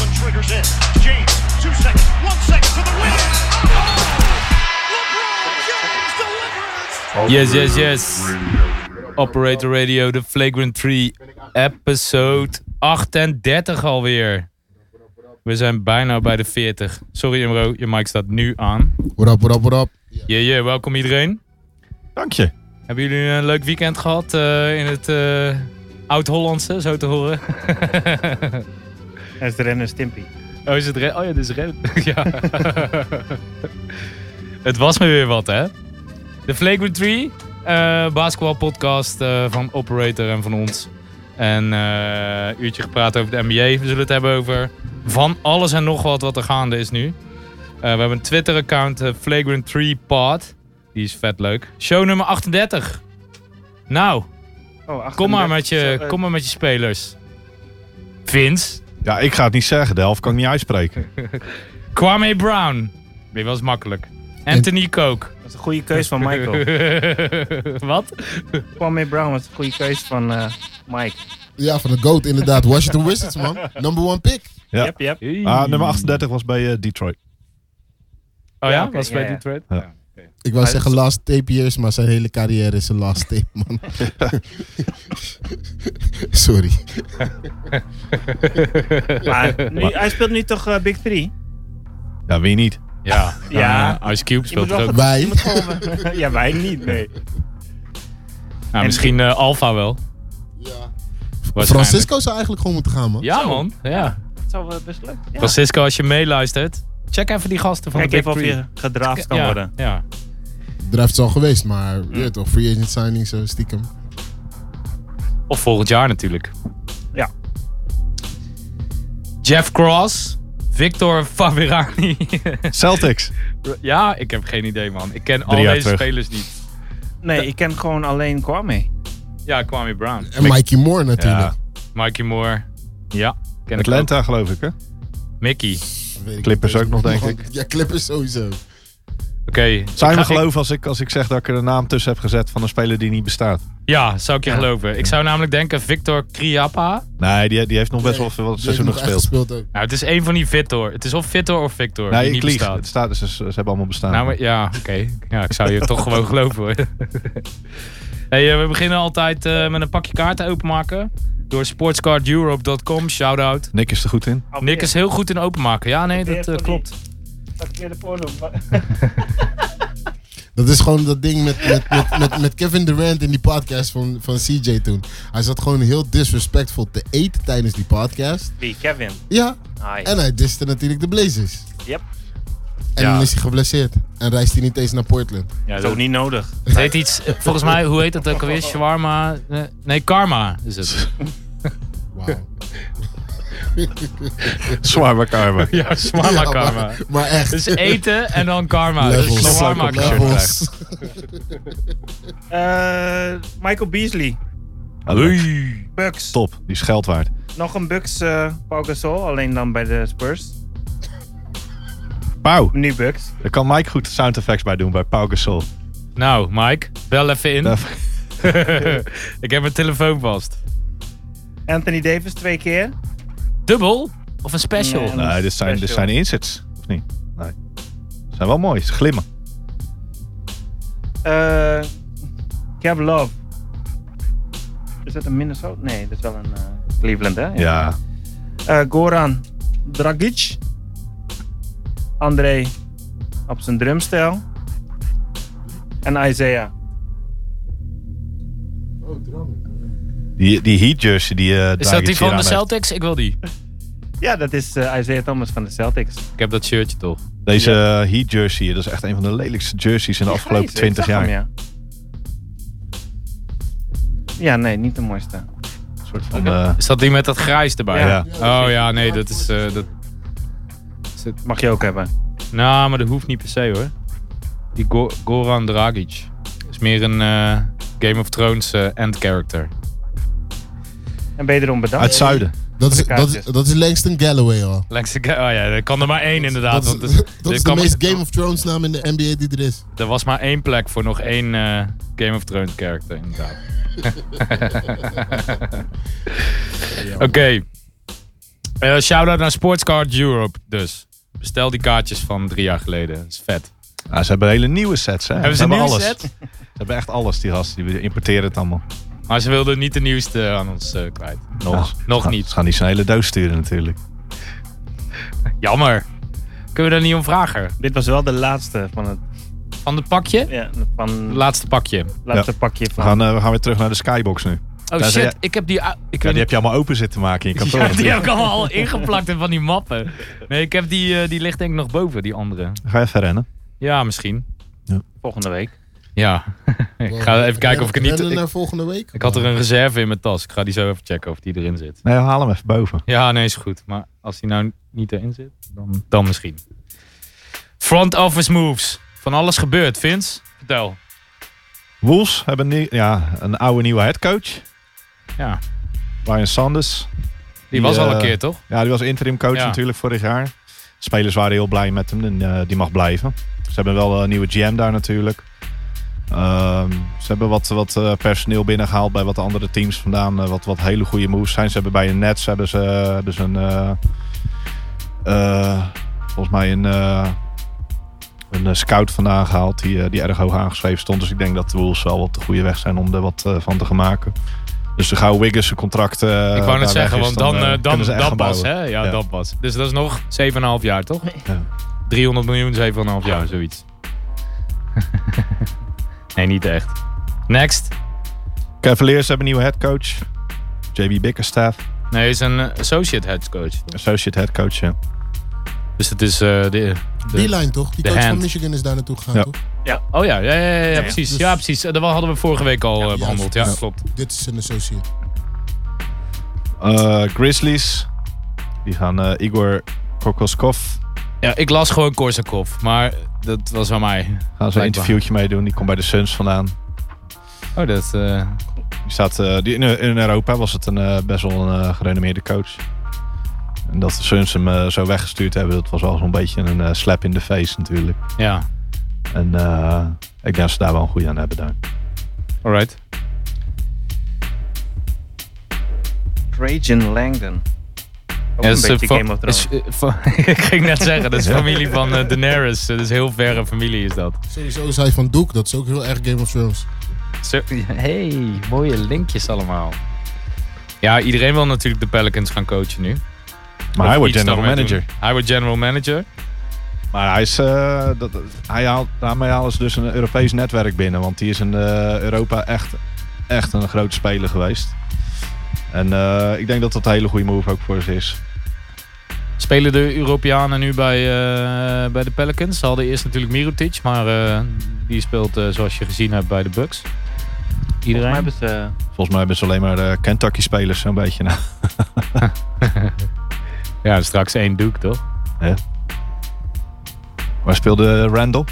in. James, two seconds, one second for the win. Oh! LeBron James delivers. Yes, yes, yes. Operator Radio, de Flagrant 3, episode 38 alweer. We zijn bijna bij de 40. Sorry Imro, je mic staat nu aan. What up, what up, what up? Yeah, yeah, welkom iedereen. Dank je. Hebben jullie een leuk weekend gehad eh, in het eh, Oud-Hollandse, zo te horen? Dat is de renner Stimpy. Oh, is het red? Oh ja, dit is red. ja. het was me weer wat, hè? De Flagrant 3, eh basketbalpodcast eh, van Operator en van ons. En eh, een uurtje gepraat over de NBA. We zullen het hebben over van alles en nog wat wat er gaande is nu. Eh, we hebben een Twitter-account, eh, Flagrant 3 Pod. Die is vet leuk. Show nummer 38. Nou, Oh, kom maar 38. met je, Zo, eh, kom maar met je spelers. Vince, Ja, ik ga het niet zeggen. De helft kan ik niet uitspreken. Kwame Brown. Dit was makkelijk. Anthony Kook. Dat is een goede keus van Michael. Wat? Kwame Brown was een goede keus van eh, Mike. Ja, van de GOAT inderdaad. Washington Wizards, man. Number one pick. Ja. Yep, yep. Ah, nummer 38 was bij eh, Detroit. Oh Ja, ja? oké, was bij ja, die ja. thread? Ik wou zeggen last tape years, maar zijn hele carrière is een last tape, man. Sorry. Maar nu, hij speelt nu toch eh, Big Three? Ja, wie niet? Ja. Ja. Eh, Ice Cube Je speelt moet er ook. wel goed- Wij. je moet gewoon- eh, ja, wij niet, nee. Nou, misschien eh, Alpha wel. Waarschijnlijk. Francisco zou eigenlijk gewoon moeten gaan, man. Ja man, ja. Dat zou wel best leuk. Ja. Francisco, als je meeluistert, check even die gasten van Kijk de Big even of Three. je gedraafd kan ja, worden. Ja. Draft is al geweest, maar je weet toch, free agent signing zo stiekem. Of volgend jaar natuurlijk. Ja. Jeff Cross, Victor Favirani. Celtics. ja, ik heb geen idee man. Ik ken al jaar deze terug. spelers niet. Nee, ik ken gewoon alleen Kwame. Ja, Kwame Brown. En Mikey Moore natuurlijk. Ja. Mikey Moore. Ja, ken ik ook. Atlanta, geloof ik, hè? Mickey. Weet ik Clippers niet. ook nog, denk ik. Ja, Clippers sowieso. Oké. Zou je Ik me ga- ik- geloven als ik, als ik zeg dat ik er een naam tussen heb gezet van een speler die niet bestaat? Ja, zou ik je geloven. Ik zou namelijk denken Victor Kriapa. Nee, die, die heeft nog best wel Nee, veel wat Die heeft seizoenen nog echt gespeeld. ook. Nou, het is één van die Victor. Het is of Victor of Victor. die Nee, niet ik lieg. bestaat. Het staat dus, ze hebben allemaal bestaan. Nou, maar, ja, oké. Ja, ik zou je toch gewoon geloven hoor. hey, eh, we beginnen altijd eh, met een pakje kaarten openmaken. Door sportscardeurope.com, shout-out. Nick is er goed in. Oh, Nick is heel goed in openmaken. Ja, nee, dat eh, klopt. de porno. Dat is gewoon dat ding met, met, met, met, met Kevin Durant in die podcast van, van CJ toen. Hij zat gewoon heel disrespectful te eten tijdens die podcast. Wie? Kevin. Ja, Ah, ja. en hij diste natuurlijk de Blazers. Yep. En Ja. dan is hij geblesseerd. En reist hij niet eens naar Portland. Ja, Dat is ook niet nodig. Het heet iets, eh, volgens mij, hoe heet dat ook alweer? Shawarma? eh, Nee, Karma is het. Wauw. Zwaar bij karma. Ja, Shawarma Ja, Karma. maar, maar echt. Dus eten en dan Karma. Dus Levels. shawarma Karma. Levels. Eh, Michael Beasley. Oei. Bucks. Top, die is geld waard. Nog een Bucks eh Pau Gasol, alleen dan bij de Spurs. Pauw, Nu Bucks. daar kan Mike goed sound effects bij doen bij Pau Gasol. Nou, Mike, bel even in. Daar- ik heb mijn telefoon vast. Anthony Davis twee keer. Dubbel? Of een special? Nee, Nee, dit zijn, dit Special. zijn insets, of niet? Nee. Ze zijn wel mooi, ze glimmen. Eh Cab Love. Is dat een Minnesota? Nee, dat is wel een eh, Cleveland, hè? Ja. Eh, Goran Dragic. André op zijn drumstijl. En Isaiah. Die, die Heat jersey die eh Is dat die van de Celtics? Ik wil die. Ja, dat is eh, Isaiah Thomas van de Celtics. Ik heb dat shirtje toch. Deze eh, Heat jersey, dat is echt een van de lelijkste jerseys in de afgelopen Grijs, hè? Ik 20 zag jaar. hem, ja. ja, nee, niet de mooiste. Een soort van, eh, Is dat die met dat grijs erbij? Ja. Oh ja, nee, dat is... eh, dat... Mag je ook hebben. Nou, maar dat hoeft niet per se hoor. Die Go- Goran Dragic. Is meer een eh, Game of Thrones eh, end character. En ben je erom bedankt? uit het zuiden. Dat is, de dat, is, kaartjes. dat is Langston Galloway al. Langs de ga- oh ja, er kan er maar één inderdaad. Dat is, want er- dat er is de kan maar- meest Game of Thrones naam in de NBA die er is. Er was maar één plek voor nog één eh, Game of Thrones character, inderdaad. Oké. Eh, Shout-out naar Sportscard Europe dus. Bestel die kaartjes van drie jaar geleden. Dat is vet. Ah, ze hebben hele nieuwe sets. Hè? Hebben ze een nieuwe alles. set? Ze hebben echt alles, die gasten. Die importeren het allemaal. Maar ze wilden niet de nieuwste aan ons eh, kwijt. Nog, nog Ze gaan- niet. Ze gaan niet zo'n hele doos sturen natuurlijk. Jammer. Kunnen we daar niet om vragen? Dit was wel de laatste van het Van het pakje? ja, van Laatste pakje. laatste pakje We van. gaan, eh, we gaan weer terug naar de skybox nu. Oh Ja, ze- shit, ik heb die... u- Ik Ja, weet die heb je allemaal open zitten maken in je kantoor. Ja, die natuurlijk. heb ik allemaal al ingeplakt in van die mappen. Nee, ik heb die, eh, die ligt denk ik nog boven, die andere. Ga even rennen. Ja, misschien. Volgende week. Ja. ik ga even kijken of ik er niet... Rennen Ik, naar volgende week? ik had er een reserve in mijn tas. Ik ga die zo even checken of die erin zit. Nee, haal hem even boven. Ja, nee, is goed. Maar als die nou niet erin zit, dan, dan misschien. Front office moves. Van alles gebeurd, Vince. Vertel. Wolves hebben nie- ja, een oude nieuwe headcoach. Ja, Ryan Sanders. die was al een eh, keer, toch? Ja, die was interim coach Ja. natuurlijk natuurlijk vorig jaar. Spelers waren heel blij met hem en eh, die mag blijven. Ze hebben wel eh, een nieuwe GM daar natuurlijk. Ehm, ze hebben wat, wat eh, personeel binnengehaald bij wat andere teams vandaan. eh, wat, wat hele goede moves zijn. Ze hebben bij een Nets hebben ze, hebben ze een... eh, eh, volgens mij een, eh, een eh, scout vandaan gehaald die, eh, die erg hoog aangeschreven stond. Dus ik denk dat de Wolves wel op de goede weg zijn om er wat eh, van te gaan maken. Dus de gauw Wiggins zijn contract... eh, Ik daar wou weg net zeggen, is, want dan, eh, eh, dan, kunnen ze echt dat gaan pas, bouwen. hè? Ja, Ja. dat pas. Dus dat is nog 7,5 jaar, toch? Ja. 300 miljoen, 7,5 jaar, zoiets. nee, niet echt. Next. Cavaliers hebben een nieuwe headcoach. JB Bickerstaff, Nee, is een eh, associate head coach. associate headcoach. Ja. Dus het is eh, de... de- Beeline toch? Die de coach van hand. Michigan is daar naartoe gegaan Ja. toch? Oh ja, ja, ja, ja, ja, precies. dus- Ja, precies. Eh, Dat hadden we vorige week al eh, Ja, behandeld. Ja, dus- klopt. Dit is een associate. Eh, Grizzlies, die gaan eh, Igor Kokoskov. Ja, ik las gewoon Korsakov, maar dat was aan mij. Gaan ze Blijkbaar. een interviewtje meedoen. Die komt bij de Suns vandaan. Oh, dat... eh, Die staat, eh, die, in, in Europa was het een, eh, best wel een eh, gerenommeerde coach. En dat de Suns hem eh, zo weggestuurd hebben, dat was wel zo'n beetje een eh, slap in de face natuurlijk. ja, En eh, ik denk dat ze daar wel een goede aan hebben daar. alright. Trajan Langdon. Ook Ja, een is, eh, beetje fa- Game of Thrones. is, eh, fa- ik ging net zeggen, dat is familie van eh, Daenerys. Dat is heel verre familie is dat. Sowieso is hij van Doek. Dat is ook heel erg Game of Thrones. Zo- hey, mooie linkjes allemaal. Ja, iedereen wil natuurlijk de Pelicans gaan coachen nu. Maar Of hij wordt iets general daarmee manager. doen. Hij wordt general manager. Maar hij is, eh, dat, dat- hij haalt, daarmee halen ze dus een Europees netwerk binnen. Want die is in eh, Europa echt, echt een grote speler geweest. En eh, ik denk dat dat een hele goede move ook voor ze is. Spelen de Europeanen nu bij, eh, bij de Pelicans? Ze hadden eerst natuurlijk Mirotic, maar eh, die speelt eh, zoals je gezien hebt bij de Bucks. Volgens mij Iedereen? hebben ze Volgens mij hebben ze alleen maar eh, Kentucky-spelers zo'n beetje. Nou, Ja, straks één doek toch? waar speelde Randall?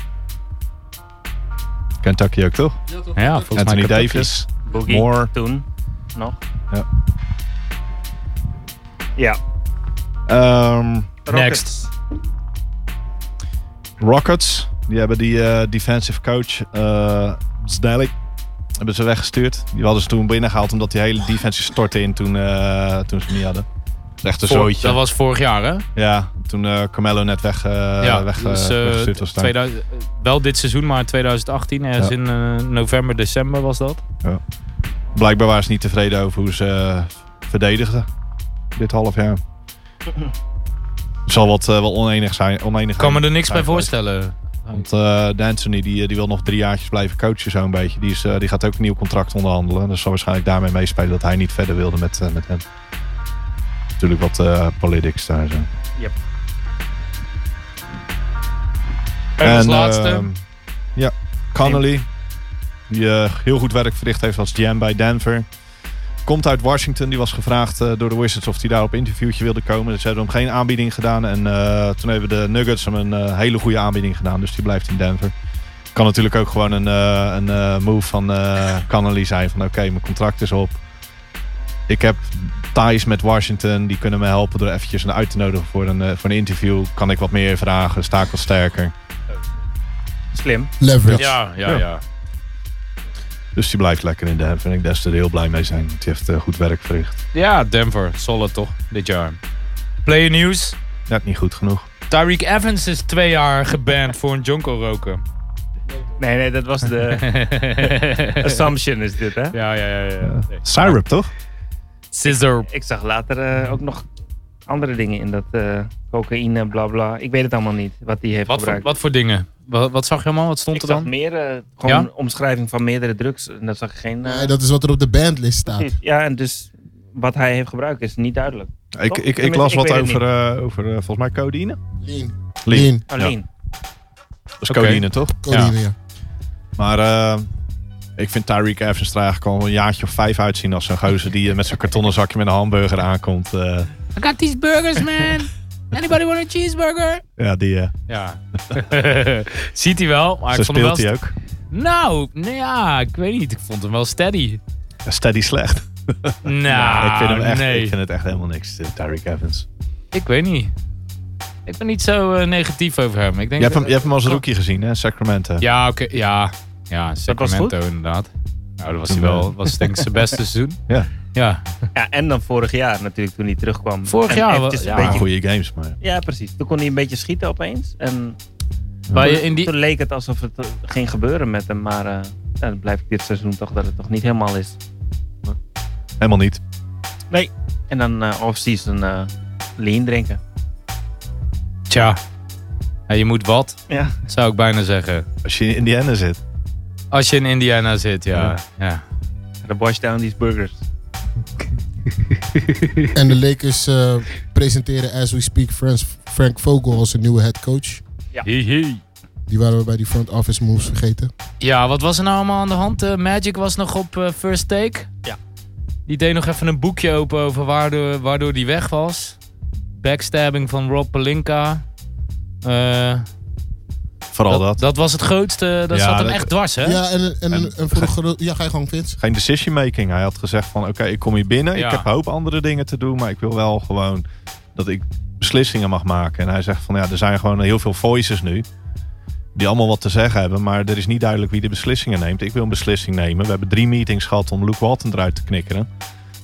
Kentucky ook toch? Ja, volgens mij Anthony Kentucky. Davis. Boogie Moore. toen nog. Ja. Ja. Ehm, Next. Rockets. Die hebben die eh, defensive coach eh Zdelic hebben ze weggestuurd. Die hadden ze toen binnengehaald omdat die hele defensie stortte in toen, eh, toen ze hem niet hadden. Dat is echt een Voor- zooitje. dat was vorig jaar hè? Ja, toen eh, Carmelo net weg, eh, ja, weg, dus, eh, weggestuurd was. daar. 2000 eh, wel dit seizoen, maar 2018, ergens Ja. in eh, november, december was dat. Blijkbaar waren ze niet tevreden over hoe ze eh, verdedigden dit half jaar. zal wat eh, wel oneenig zijn. Oneenig Ik kan me er niks bij voorstellen. Want eh D'Antoni die, eh, die wil nog drie jaartjes blijven coachen zo'n beetje. Die, is, eh, die gaat ook een nieuw contract onderhandelen. Dus zal waarschijnlijk daarmee meespelen dat hij niet verder wilde met, eh, met hem. Natuurlijk wat eh, politics daar zo. En eh, als laatste, ehm, ja, Connolly. Die eh, heel goed werk verricht heeft als GM bij Denver. Komt uit Washington. Die was gevraagd eh, door de Wizards of hij daar op interviewtje wilde komen. Dus ze hebben hem geen aanbieding gedaan. En eh, toen hebben de Nuggets hem een eh, hele goede aanbieding gedaan. Dus die blijft in Denver. Kan natuurlijk ook gewoon een, eh, een eh, move van eh Connolly zijn. Van oké, mijn contract is op. Ik heb ties met Washington. Die kunnen me helpen door eventjes een uit te nodigen voor een, eh, voor een interview. Kan ik wat meer vragen? Sta ik wat sterker? Slim. Leverage. ja, ja, Ja. ja. Dus die blijft lekker in de hef. En ik des te heel blij mee zijn. Die heeft eh, goed werk verricht. Ja, Denver, solid toch, dit jaar. Player nieuws. Net niet goed genoeg. Tyreek Evans is twee jaar geband voor een jonko roken. Nee, nee, dat was de assumption is dit, hè? ja, ja, ja. ja. Nee. Syrup, toch? Scissor. Ik zag later eh, ook nog andere dingen in dat eh, cocaïne, bla bla. Ik weet het allemaal niet wat die heeft Wat voor, gebruikt. wat voor dingen? Wat, wat zag je allemaal? Wat stond ik er zag dan? meer, eh, gewoon Ja? omschrijving van meerdere drugs. En dat zag ik geen... eh, Nee, dat is wat er op de bandlist staat. precies. Ja, en dus wat hij heeft gebruikt is niet duidelijk. Ik, ik, ik Tenminste, las Oh, ik wat weet het over, eh, over eh, volgens mij codeïne. Lean. Lean. Lean. Alleen. Dat is Oké. codeïne, toch? Codeine, ja. Maar eh, ik vind Tyreek Evans er eigenlijk al een jaartje of vijf uitzien als zo'n gozer die eh, met zijn kartonnen zakje met een hamburger aankomt. eh. I got these burgers, man. Anybody want a cheeseburger? ja, die eh, Ja. Ziet hij wel, maar zo ik vond hem wel... speelt hij ook. Nou, nou ja, ik weet niet. Ik vond hem wel steady. Ja, Steady slecht. Nou, ik, vind hem echt, nee. ik vind het echt helemaal niks, eh, Tyreek Evans. Ik weet niet. Ik ben niet zo eh, negatief over hem. Ik denk Je hebt, hem, dat- je hebt hem als rookie gezien, hè? Sacramento. Ja, oké. ja. ja, was Sacramento inderdaad. Nou, dat was hij Toen, wel. eh, was denk ik zijn beste seizoen. Ja. Ja. Ja, en dan vorig jaar natuurlijk toen hij terugkwam. Vorig En jaar wel- eventjes ja. een beetje, Goede games, maar... ja, precies. Toen kon hij een beetje schieten opeens. En Waar je in die... toen leek het alsof het eh, ging gebeuren met hem. Maar eh, ja, dan blijf ik dit seizoen toch dat het toch niet helemaal is. Helemaal niet. En dan eh off-season eh lean drinken. Tja. Ja, je moet wat, Ja. zou ik bijna zeggen. Als je in Indiana zit. Als je in Indiana zit, ja. ja. De boys down these burgers. En de Lakers eh, presenteren as we speak Frans- Frank Vogel als een nieuwe head coach. Hi, hi. Die waren we bij die front office moves vergeten. Ja, wat was er nou allemaal aan de hand? Eh, Magic was nog op eh, first take. Ja. Die deed nog even een boekje open over waardoor, waardoor die weg was. Backstabbing van Rob Pelinka. Eh, Vooral dat. dat was het grootste. Dat Ja, zat hem dat- echt dwars, hè? Ja, en, en, en, En- voor de gro- Ja, ga je gang, Vince. Geen decision making. Hij had gezegd van oké, ik kom hier binnen. Ja. Ik heb een hoop andere dingen te doen. Maar ik wil wel gewoon dat ik beslissingen mag maken. En hij zegt van ja, er zijn gewoon heel veel voices nu. Die allemaal wat te zeggen hebben. Maar er is niet duidelijk wie de beslissingen neemt. Ik wil een beslissing nemen. We hebben drie meetings gehad om Luke Walton eruit te knikkeren.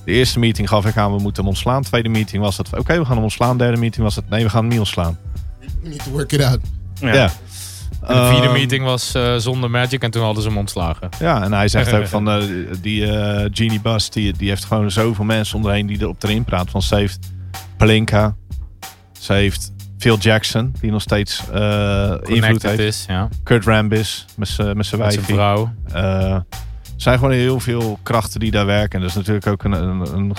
De eerste meeting gaf ik aan, we moeten hem ontslaan. Tweede meeting was dat, oké, we gaan hem ontslaan. Derde meeting was dat, nee, we gaan hem niet ontslaan. We need to work it out. Ja. Ja. En de vierde Ehm, meeting was eh, zonder Magic en toen hadden ze hem ontslagen. Ja, en hij zegt ook van eh, die eh, Genie Bus, die, die heeft gewoon zoveel mensen om haar heen die erop erin praat. Want ze heeft Palinka, ze heeft Phil Jackson, die nog steeds eh, invloed Connected heeft. is, ja. Kurt Rambis met z'n- met zijn Met zijn wijfie. vrouw. Eh, er zijn gewoon heel veel krachten die daar werken. En dat is natuurlijk ook een, een, een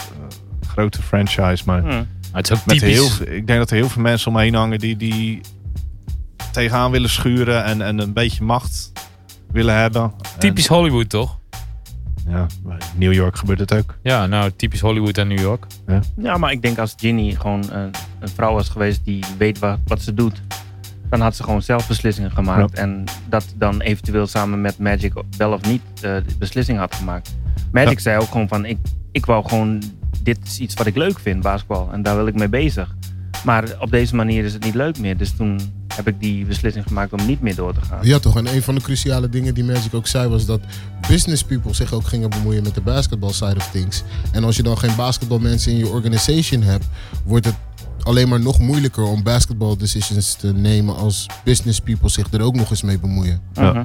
grote franchise. Maar Hm. Maar het is ook met Hmm. typisch. heel, veel- ik denk dat er heel veel mensen omheen hangen die, die tegenaan willen schuren en, en een beetje macht willen hebben. En- Typisch Hollywood, toch? ja, maar in New York gebeurt het ook. Ja, nou, typisch Hollywood en New York. Ja, maar ik denk als Ginny gewoon een, een vrouw was geweest die weet wat, wat ze doet, dan had ze gewoon zelf beslissingen gemaakt. En dat dan eventueel samen met Magic wel of niet eh, de beslissing had gemaakt. Magic zei ook gewoon van, ik, ik wou gewoon, dit is iets wat ik leuk vind, basketbal. En daar wil ik mee bezig. Maar op deze manier is het niet leuk meer. Dus toen heb ik die beslissing gemaakt om niet meer door te gaan. Ja, toch. En een van de cruciale dingen die Magic ook zei was dat business people zich ook gingen bemoeien met de basketball side of things. En als je dan geen basketbalmensen in je organization hebt, wordt het alleen maar nog moeilijker om basketball decisions te nemen als business people zich er ook nog eens mee bemoeien. Mhm. Ja.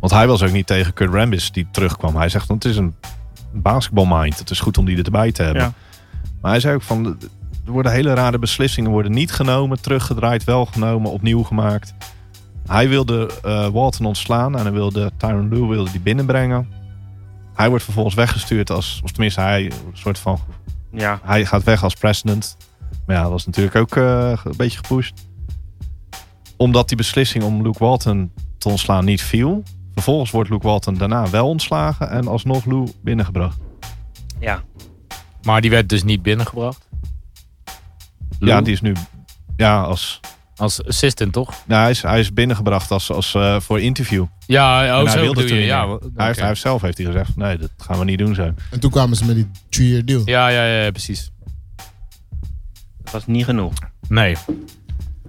Want hij was ook niet tegen Kurt Rambis die terugkwam. Hij zegt, want het is een basketbalmind. Het is goed om die erbij te hebben. Ja. Maar hij zei ook van, er worden hele rare beslissingen worden niet genomen, teruggedraaid, wel genomen, opnieuw gemaakt. Hij wilde eh, Walton ontslaan en hij wilde Tyron Lue wilde die binnenbrengen. Hij wordt vervolgens weggestuurd als, of tenminste hij, een soort van, Ja. hij gaat weg als president. Maar ja, dat was natuurlijk ook eh, een beetje gepusht. Omdat die beslissing om Luke Walton te ontslaan niet viel. Vervolgens wordt Luke Walton daarna wel ontslagen en alsnog Lou binnengebracht. ja. Maar die werd dus niet binnengebracht. Ja, Lou? die is nu ja, als, Als assistant, toch? nou, hij, is, hij is binnengebracht als, als, eh, voor interview. Ja, En oh, hij zo wilde bedoel toen je. niet Ja, meer. oké. hij, heeft, hij heeft zelf heeft hij gezegd, nee, dat gaan we niet doen zo. En toen kwamen ze met die three-year deal. ja, ja, ja, ja, precies. Dat was niet genoeg. Nee.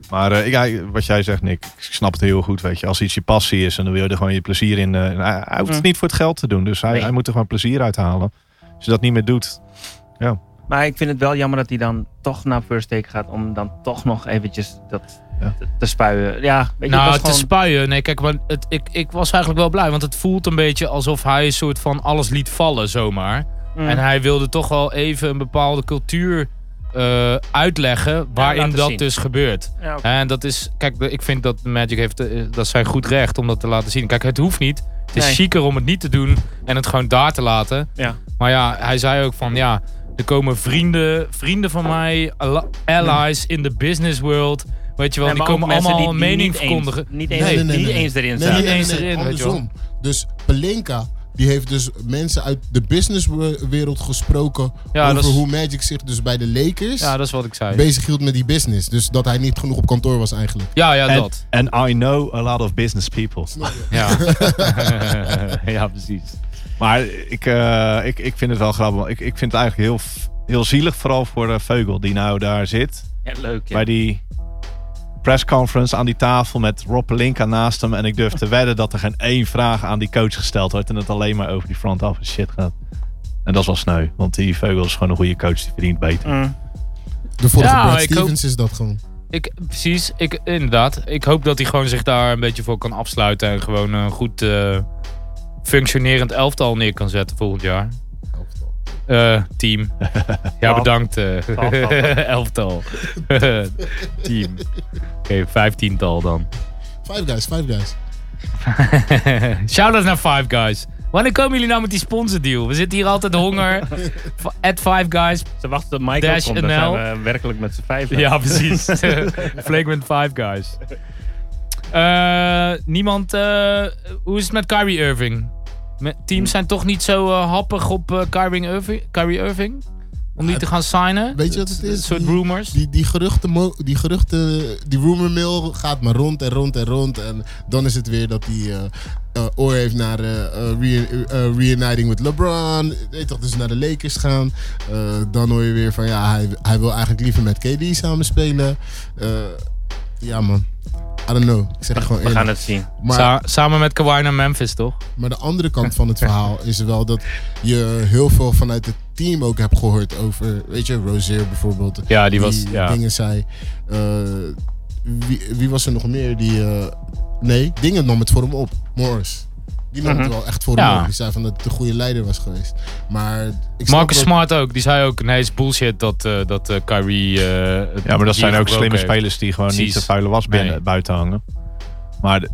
Maar eh, ik, hij- wat jij zegt, Nick, ik snap het heel goed. Weet je. Als iets je passie is en dan wil je er gewoon je plezier in. eh, en hij, hij hoeft het Mm. niet voor het geld te doen. Dus hij, Nee. hij moet er gewoon plezier uit halen. Als je dat niet meer doet. Ja. Maar ik vind het wel jammer dat hij dan toch naar first take gaat om dan toch nog eventjes dat Ja. te, te spuien. Ja, weet je, nou, het te was gewoon... spuien. Nee, kijk, want het, ik, ik was eigenlijk wel blij. Want het voelt een beetje alsof hij een soort van alles liet vallen zomaar. Mm. En hij wilde toch wel even een bepaalde cultuur eh, uitleggen waarin laten dat zien. dus gebeurt. Ja, oké. En dat is, kijk, ik vind dat Magic heeft, eh, dat zijn goed recht om dat te laten zien. Kijk, het hoeft niet. Het is Nee. chiquer om het niet te doen en het gewoon daar te laten. Ja. Maar ja, hij zei ook van, ja, er komen vrienden, vrienden van mij, al- allies in the business world. Weet je wel, Nee, die maar ook komen mensen allemaal die- een die mening niet eens- verkondigen. Niet eens, Nee, nee, nee, die nee. niet eens erin Nee, zaten. nee, nee, eens nee, erin, weet je wel. andersom. Dus Pelinka, die heeft dus mensen uit de businesswereld gesproken Ja, over dat is- hoe Magic zich dus bij de Lakers Ja, dat is wat ik zei. bezig hield met die business. Dus dat hij niet genoeg op kantoor was eigenlijk. Ja, ja, En dat. and I know a lot of business people. Ja, ja precies. Maar ik, eh, ik, ik vind het wel grappig. want Ik, ik vind het eigenlijk heel, f- heel zielig. Vooral voor eh, Vogel die nou daar zit. Ja, leuk. Ja. Bij die pressconference aan die tafel met Rob Linka naast hem. En ik durf te wedden dat er geen één vraag aan die coach gesteld wordt. En het alleen maar over die front office shit gaat. En dat is wel sneu. Want die Vogel is gewoon een goede coach. Die verdient beter. Mm. De vorige Ja, Brad ik hoop- Stevens is dat gewoon. Ik, precies, ik, inderdaad. Ik hoop dat hij gewoon zich daar een beetje voor kan afsluiten. En gewoon een goed eh, functionerend elftal neer kan zetten volgend jaar. Eh, team. Ja, bedankt. eh. Tal, tal, tal. elftal. team. Oké, vijftiental dan. Five guys, five guys. Shout-out naar Five Guys. Wanneer komen jullie nou met die sponsordeal? We zitten hier altijd honger. At Five Guys. Ze wachten tot Michael Dash komt. Dan NL. zijn we werkelijk met z'n vijven. Ja, precies. Flagrant Five Guys. Eh, niemand. eh, hoe is het met Kyrie Irving? Me- Teams Hm. zijn toch niet zo eh, happig op eh, Kyrie, Irving, Kyrie Irving? Om die te gaan signen? Weet je wat het Een is? soort Die- rumors. Die, die, geruchten, mo- die geruchten, die rumor mill gaat maar rond en rond en rond. En dan is het weer dat hij eh, eh, oor heeft naar eh, eh, re- eh, reuniting met LeBron. Weet je toch, dus naar de Lakers gaan. Eh, dan hoor je weer van ja, hij, hij wil eigenlijk liever met KD samen spelen. Eh, ja man, I don't know. Ik zeg het gewoon We gaan eerlijk. het zien. Maar, Sa- samen met Kawhi naar Memphis, toch? maar de andere kant van het verhaal is wel dat je heel veel vanuit het team ook hebt gehoord over, weet je, Rozier bijvoorbeeld Ja, die dingen zei. Eh, wie, wie was er nog meer die. eh, nee, dingen nam het voor hem op. Morris. Die nam het Mhm. wel echt voor Ja. hem op. Die zei van dat het een goede leider was geweest. Maar ik snap Marcus wel- Smart ook. Die zei ook: nee, het is bullshit dat, eh, dat eh, Kyrie. eh, het hier Ja, maar dat zijn ook gebroken slimme heeft. spelers die gewoon Precies. niet de vuile was binnen, Nee. buiten hangen. Maar de-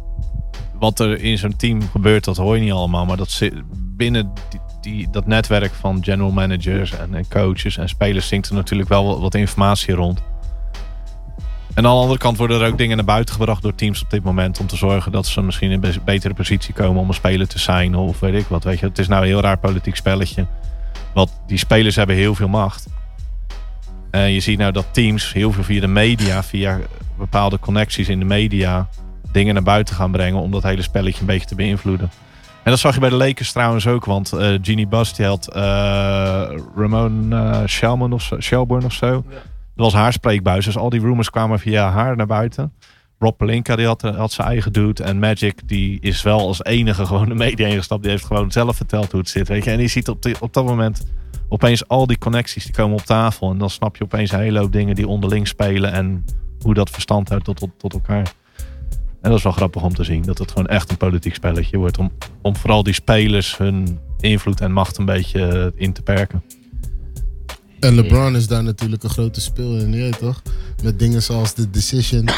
wat er in zo'n team gebeurt, dat hoor je niet allemaal. Maar dat zit binnen die, die, dat netwerk van general managers en, en coaches en spelers zinkt er natuurlijk wel wat, wat informatie rond. En aan de andere kant worden er ook dingen naar buiten gebracht door teams op dit moment. Om te zorgen dat ze misschien in een bes- betere positie komen om een speler te zijn. Of weet ik wat. Weet je, het is nou een heel raar politiek spelletje. Want die spelers hebben heel veel macht. En je ziet nou dat teams heel veel via de media, via bepaalde connecties in de media, dingen naar buiten gaan brengen om dat hele spelletje een beetje te beïnvloeden. En dat zag je bij de Lakers trouwens ook, want eh Genie Bus die had eh, Ramon eh, Shelman of zo, Shelburne of zo. Dat was haar spreekbuis, dus al die rumors kwamen via haar naar buiten. Rob Pelinka die had, had zijn eigen dude en Magic die is wel als enige gewoon de media ingestapt. Die heeft gewoon zelf verteld hoe het zit, weet je. En die ziet op, die- op dat moment opeens al die connecties die komen op tafel. En dan snap je opeens een hele hoop dingen die onderling spelen. En hoe dat verstand houdt tot, tot, tot elkaar. En dat is wel grappig om te zien. Dat het gewoon echt een politiek spelletje wordt. Om, om vooral die spelers hun invloed en macht een beetje eh, in te perken. En LeBron is daar natuurlijk een grote speel in, je weet toch? Met dingen zoals de Decision.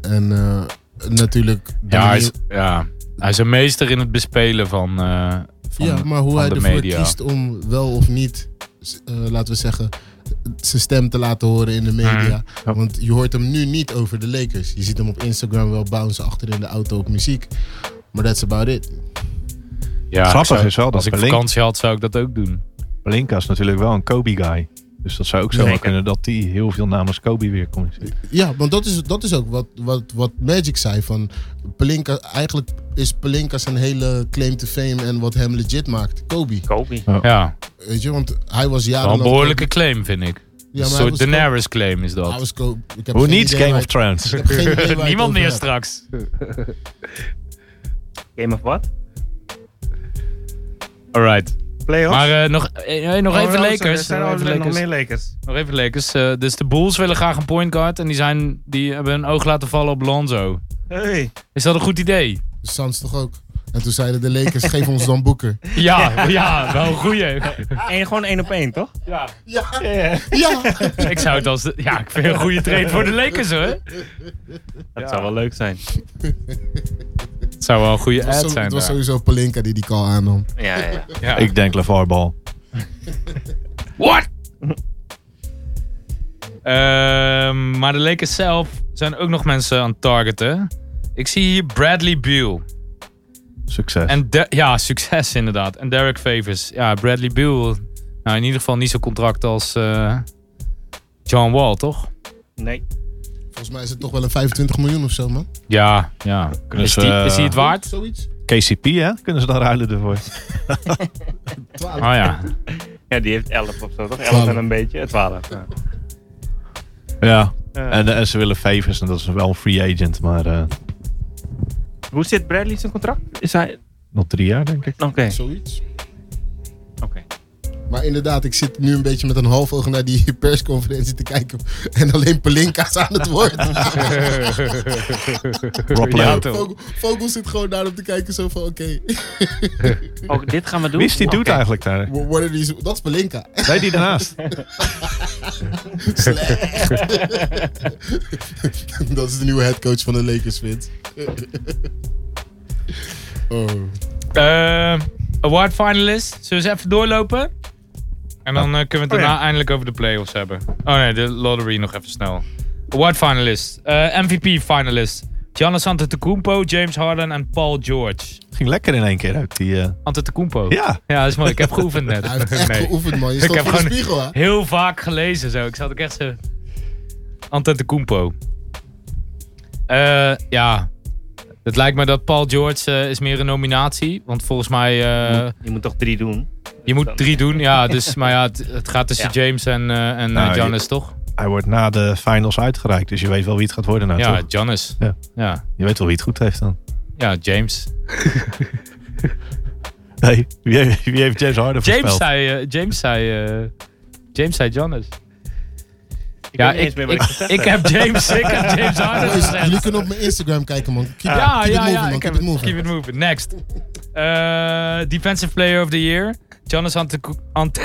En eh, natuurlijk. de Ja hij, is, manier- ja, hij is een meester in het bespelen van. eh, van ja, maar hoe van hij de ervoor media. kiest om wel of niet, s- eh, laten we zeggen, zijn stem te laten horen in de Hmm. media. Ja. Want je hoort hem nu niet over de Lakers. Je ziet hem op Instagram wel bouncen achter in de auto op muziek. Maar that's about it. ja, Grappig ik zou- is wel dat Als ik Pelin- vakantie had, zou ik dat ook doen. Pelinka is natuurlijk wel een Kobe-guy. Dus dat zou ook zo Zeker. kunnen dat die heel veel namens Kobe weer communiceert. Ja, want dat is, dat is ook wat, wat, wat Magic zei. Van Pelinka, eigenlijk is Pelinka zijn hele claim to fame en wat hem legit maakt. Kobe. Kobe. Ja, Weet je, want hij was wel jarenlang... een behoorlijke claim, vind ik. Ja, een maar hij soort was Kobe- Daenerys claim is hij dat. was Kobe. Ik heb Who geen needs idee Game waar of Thrones? het- Ik heb geen idee waar je het Niemand over meer hebt. straks. Game of what? Alright. playoffs. Maar eh, nog, eh, eh, nog Oh, even wel, Lakers. Er zijn Nog al even nog Lakers. meer Lakers. Nog even Lakers. Eh, dus de Bulls willen graag een point guard. En die, zijn, die hebben hun oog laten vallen op Lonzo. Hey. Is dat een goed idee? De Suns toch ook? En toen zeiden de Lakers, geef ons dan Boeker. Ja, ja wel een goeie. En gewoon één op één, toch? Ja. Ja, ja. Ik zou het als... de- Ja, ik vind het een goede trade voor de Lakers hoor. Dat zou wel leuk zijn. Het zou wel een goede Het was, ad zo- zijn het was daar. sowieso Palinka die die call aannam. Ja, ja, ja. Ja. Ik denk LeVar Ball. What? Ehm, maar de Lakers zelf zijn ook nog mensen aan het targeten. Ik zie hier Bradley Beal. Succes. En Der- ja, succes inderdaad. En Derek Favors. Ja, Bradley Beal. Nou, in ieder geval niet zo'n contract als eh, John Wall, toch? Nee. Volgens mij is het toch wel een 25 miljoen of zo, man. Ja, ja. Kunnen is, ze, die, is die het eh, waard? Zoiets? KCP, hè? Kunnen ze dan ruilen ervoor? 12. Oh ja. Ja, die heeft 11 of zo, toch? 11 Twaalf. en een beetje. eh, 12. Ja. Ja. Eh, En, en ze willen favors en dat is wel een free agent, maar eh, hoe zit Bradley zijn contract? Is hij. nog drie jaar, denk ik. Oké. Zoiets. Oké. Maar inderdaad, ik zit nu een beetje met een half oog naar die persconferentie te kijken. En alleen Palinka is aan het woord. Rob Ja, Lowe. toch. Vogel, Vogel zit gewoon daarop te kijken, zo van oké. Ook dit gaan we doen. Wie is die Oké. dude eigenlijk daar? wh- what are these- Dat is Palinka. Nee, die daarnaast. Slecht. dat is de nieuwe headcoach van de Lakers, Vince. oh. Eh, award finalist. Zullen we eens even doorlopen? En dan eh, kunnen we het Oh, ja. daarna eindelijk over de playoffs hebben. Oh nee, de lottery nog even snel. Award finalist. eh, MVP finalist. Giannis Antetokounmpo, James Harden en Paul George. Ging lekker in één keer ook. Die, eh, Antetokounmpo. ja. Ja, dat is mooi. Ik heb geoefend net. Hij heeft echt Nee. geoefend, man. Je Ik stond heb voor de gewoon- spiegel, hè? Heel vaak gelezen zo. Ik zat ook echt zo... Antetokounmpo. Eh ja. Het lijkt me dat Paul George eh, is meer een nominatie. Want volgens mij... eh, Je moet toch drie doen? Je moet Dan- drie doen, ja. Dus, maar ja, het, het gaat tussen James en, eh en Nou, eh, Giannis, toch? Hij wordt na de finals uitgereikt, dus je weet wel wie het gaat worden nou, ja, toch? Giannis. Ja. ja. Je weet wel wie het goed heeft dan. Ja, James. Nee, wie heeft, wie heeft James Harden James voorspeld? zei, eh, James zei, eh, James zei Giannis. Ik Ja, weet niet eens meer wat ik gezegd Ik heb. heb James, ik heb James Harden Boys, gezegd. jullie kunnen op mijn Instagram kijken, man. Keep, Ja, Ah, keep ja, it moving, ja. man. ik heb Keep it het- moving. Keep it moving. Next. Eh, defensive Player of the Year. Giannis Antetokounmpo.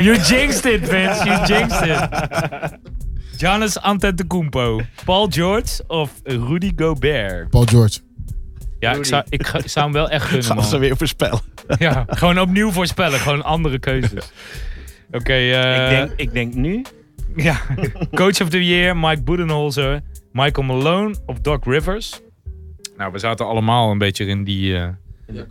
you jinxed it, Vince. You jinxed it. Giannis Antetokounmpo. Paul George of Rudy Gobert? Paul George. Ja, ik zou, ik, ga- ik zou hem wel echt gunnen, Gaan ze man. weer voorspellen. Ja, gewoon opnieuw voorspellen. Gewoon andere keuzes. Oké, eh, Ik denk, ik denk nu. ja. Coach of the Year, Mike Budenholzer, Michael Malone of Doc Rivers. Nou, we zaten allemaal een beetje in die eh,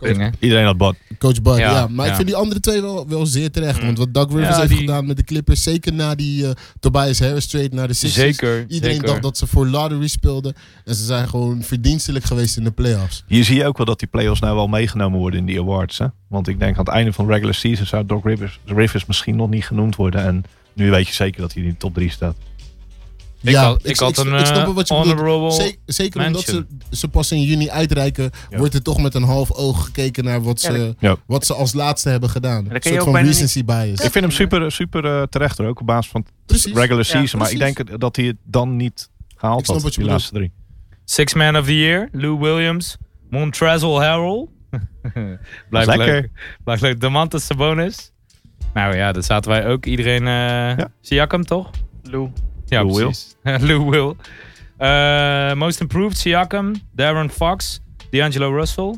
dingen. Iedereen had bad. Coach Bud, Ja, ja. Maar ja. Mm. ik vind die andere twee wel, wel zeer terecht. Want wat Doug Rivers Ja, heeft die- gedaan met de Clippers, zeker na die eh, Tobias Harris trade naar de Sixers. Zeker, Iedereen zeker. dacht dat ze voor lottery speelden. En ze zijn gewoon verdienstelijk geweest in de playoffs. Hier zie je ook wel dat die playoffs nou wel meegenomen worden in die awards. Hè? Want ik denk aan het einde van de regular season zou Doc Rivers, Rivers misschien nog niet genoemd worden. En nu weet je zeker dat hij in de top 3 staat. Ik had- ik had een, wel eh, bedoelt. honorable Zek- zeker mention. omdat ze, ze pas in juni uitreiken, Ja. wordt er toch met een half oog gekeken naar wat Ja, dat- ze, Ja. wat ze als laatste hebben gedaan. dat kan Een je soort ook van bijna recency bias. Ik vind hem super, super eh, terecht hoor. Ook op basis van Precies. regular season. maar ik precies. denk dat hij het dan niet Ik gehaald snap had, wat je die bedoelt. laatste drie. Six Man of the Year, Lou Williams, Montrezl Harrell. Blijft lekker. leuk. Blijft leuk. Damantas Sabonis. Nou ja, dat zaten wij ook. Iedereen... eh Ja. Siakam, toch? Lou. Ja, Lou Will. precies. Lou Will. Eh, most Improved, Siakam, Darren Fox, D'Angelo Russell. Nou,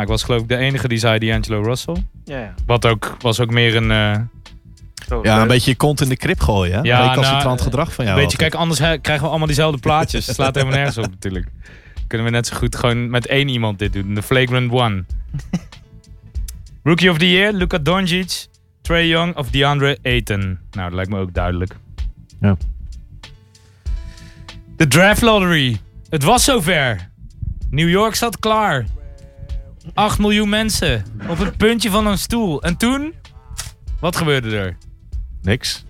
ik was geloof ik de enige die zei D'Angelo Russell. Ja, ja. Wat ook, was ook meer een... eh, Zo, Ja, een leuk. beetje je kont in de krip gooien. Hè? Ja, Ja, recalcitrant nou, gedrag van jou. Weet je, altijd. kijk, anders hè, krijgen we allemaal diezelfde plaatjes. Het slaat helemaal nergens op natuurlijk. Kunnen we net zo goed gewoon met één iemand dit doen. De Flagrant One. Rookie of the Year, Luka Doncic, Trey Young of DeAndre Ayton. Nou, dat lijkt me ook duidelijk. Ja. De Draft Lottery. Het was zover. New York zat klaar. 8 miljoen mensen op het puntje van een stoel. En toen? Wat gebeurde er? Niks.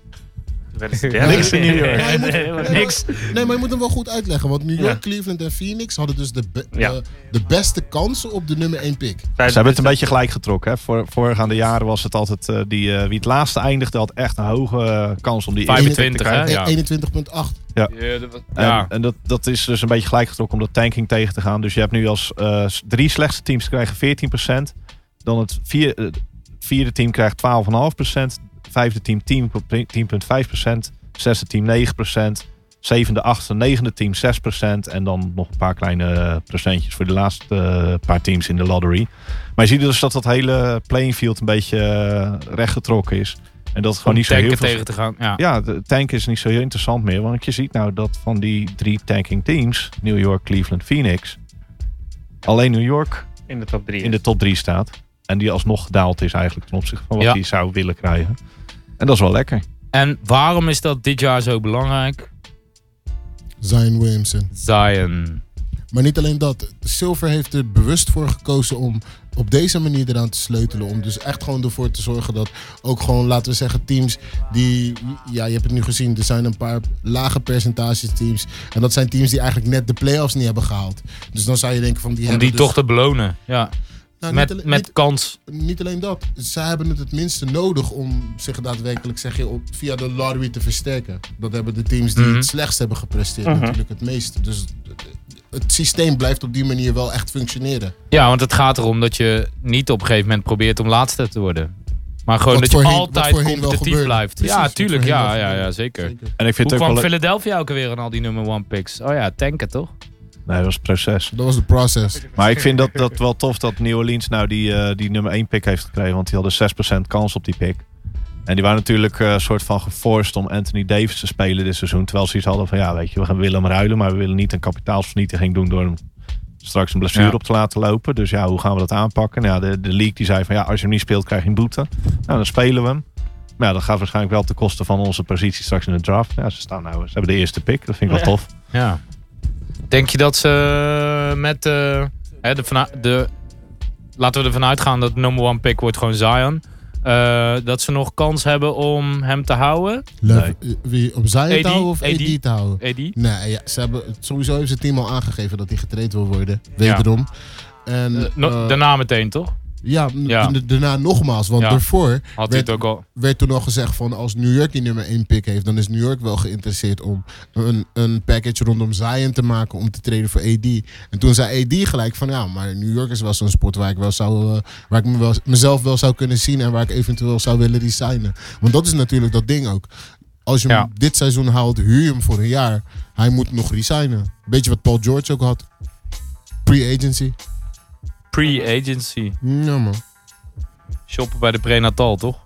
werden ze derde. Niks in New York. Ja, je moet- Niks. Nee, maar je moet hem wel goed uitleggen. Want New York, Ja. Cleveland en Phoenix hadden dus de, be- Ja. de, de beste kansen op de nummer 1 pick. Zij- Ze hebben het een beetje gelijk getrokken. Hè. Voor, voorgaande jaren was het altijd eh, die, eh, wie het laatste eindigde, had echt een hoge eh, kans om die eerste pick 25, te krijgen. hè? Ja. En 21,8. En, Ja. en dat, dat is dus een beetje gelijk getrokken om dat tanking tegen te gaan. Dus je hebt nu als eh, s- drie slechtste teams krijgen 14%. Dan het vier- eh, vierde team krijgt 12,5%. Vijfde team 10,5%. Zesde team 9%. Zevende, achtste, negende team 6%. En dan nog een paar kleine eh, procentjes voor de laatste eh, paar teams in de lottery. Maar je ziet dus dat dat hele playing field een beetje eh, rechtgetrokken is. En dat het gewoon Oh, niet zo heel tanken veel tegen te gaan. Ja. ja, de tank is niet zo heel interessant meer. Want je ziet nou dat van die drie tanking teams, New York, Cleveland, Phoenix, alleen New York in de top 3. in de top drie staat. En die alsnog gedaald is eigenlijk ten opzichte van wat Ja. hij zou willen krijgen. En dat is wel lekker. En waarom is dat dit jaar zo belangrijk? Zion Williamson. Zion. Maar niet alleen dat. Silver heeft er bewust voor gekozen om op deze manier eraan te sleutelen. Om dus echt gewoon ervoor te zorgen dat ook gewoon, laten we zeggen, teams die... Ja, je hebt het nu gezien. Er zijn een paar lage percentages teams. En dat zijn teams die eigenlijk net de playoffs niet hebben gehaald. Dus dan zou je denken van... Die Om hebben die dus- toch te belonen. Ja. Nou, niet Met, alleen- met kans. niet alleen dat. Zij hebben het het minste nodig om zich daadwerkelijk zeg je, op, via de lottery te versterken. Dat hebben de teams die Mhm. het slechtst hebben gepresteerd Mhm. natuurlijk het meest. Dus het- het systeem blijft op die manier wel echt functioneren. Ja, want het gaat erom dat je niet op een gegeven moment probeert om laatste te worden. Maar gewoon Wat dat je voorheen- wat altijd voorheen wel competitief gebeurde. blijft. Precies, ja, wat tuurlijk. voorheen Ja, wel ja, gebeurde. ja, zeker. En ik vind Hoe het ook kwam wel... le- Philadelphia ook weer aan al die nummer one picks? Oh ja, tanken toch? Nee, dat was het proces. Dat was de process. Maar ik vind dat, dat wel tof dat New Orleans nou die, eh, die nummer 1 pick heeft gekregen. Want die hadden 6% kans op die pick. En die waren natuurlijk een soort van geforst om Anthony Davis te spelen dit seizoen. Terwijl ze iets hadden van, ja weet je, we gaan willen hem ruilen. Maar we willen niet een kapitaalsvernietiging doen door hem straks een blessure Ja. op te laten lopen. Dus ja, hoe gaan we dat aanpakken? Nou, ja, de, de league die zei van, ja, als je hem niet speelt krijg je een boete. Nou, dan spelen we hem. Maar ja, dat gaat waarschijnlijk wel ten koste van onze positie straks in de draft. Ja, ze staan nou, ze hebben de eerste pick. Dat vind ik wel Ja. tof. Ja. Denk je dat ze eh, met eh, hè, de, vana- de laten we ervan uitgaan dat number one pick wordt gewoon Zion. eh, dat ze nog kans hebben om hem te houden, Lev- Eh, Wie, om Zion AD? te houden of AD, AD? te houden? Eddie? Nee, ja, ze hebben, sowieso heeft zijn team al aangegeven dat hij getraind wil worden. Wederom. En, No- eh, daarna meteen toch? ja, ja. d- daarna nogmaals, want Ja. daarvoor Had hij werd- het ook al. werd toen al gezegd van als New York die nummer 1 pick heeft, dan is New York wel geïnteresseerd om een, een package rondom Zion te maken om te treden voor AD. En toen zei AD gelijk van ja, maar New York is wel zo'n sport waar ik, wel zou, eh, waar ik me wel, mezelf wel zou kunnen zien en waar ik eventueel zou willen resignen. Want dat is natuurlijk dat ding ook. Als je Ja. hem dit seizoen haalt, huur je hem voor een jaar. Hij moet nog resignen. Beetje wat Paul George ook had. Pre-agency. Pre-agency. Ja man. Shoppen bij de prenatal, toch?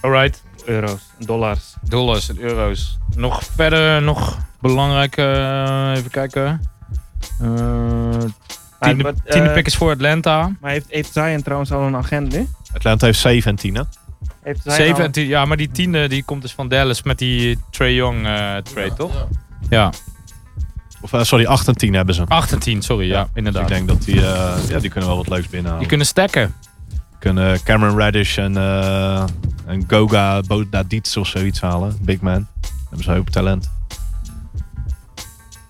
Alright. euro's, dollars. Dollars en euro's. Nog verder, nog belangrijk, eh, even kijken. Eh, tiende, maar, eh, tiende pick is voor Atlanta. Maar heeft, heeft Zion trouwens al een agent nu? Atlanta heeft 7 en 10, hè? Heeft Zion Zeven al- en tien- ja, maar die tiende die komt dus van Dallas met die Trey Young eh, trade, toch? Ja. Of, eh, sorry, 8 en 10 hebben ze. 8 en 10, sorry, ja, Dus inderdaad. ik denk dat die, eh, ja, die kunnen wel wat leuks binnenhalen. Die kunnen stacken. kunnen Cameron Radish en, eh, en Goga Bodadits of zoiets halen. Big man. Hebben ze een hoop talent.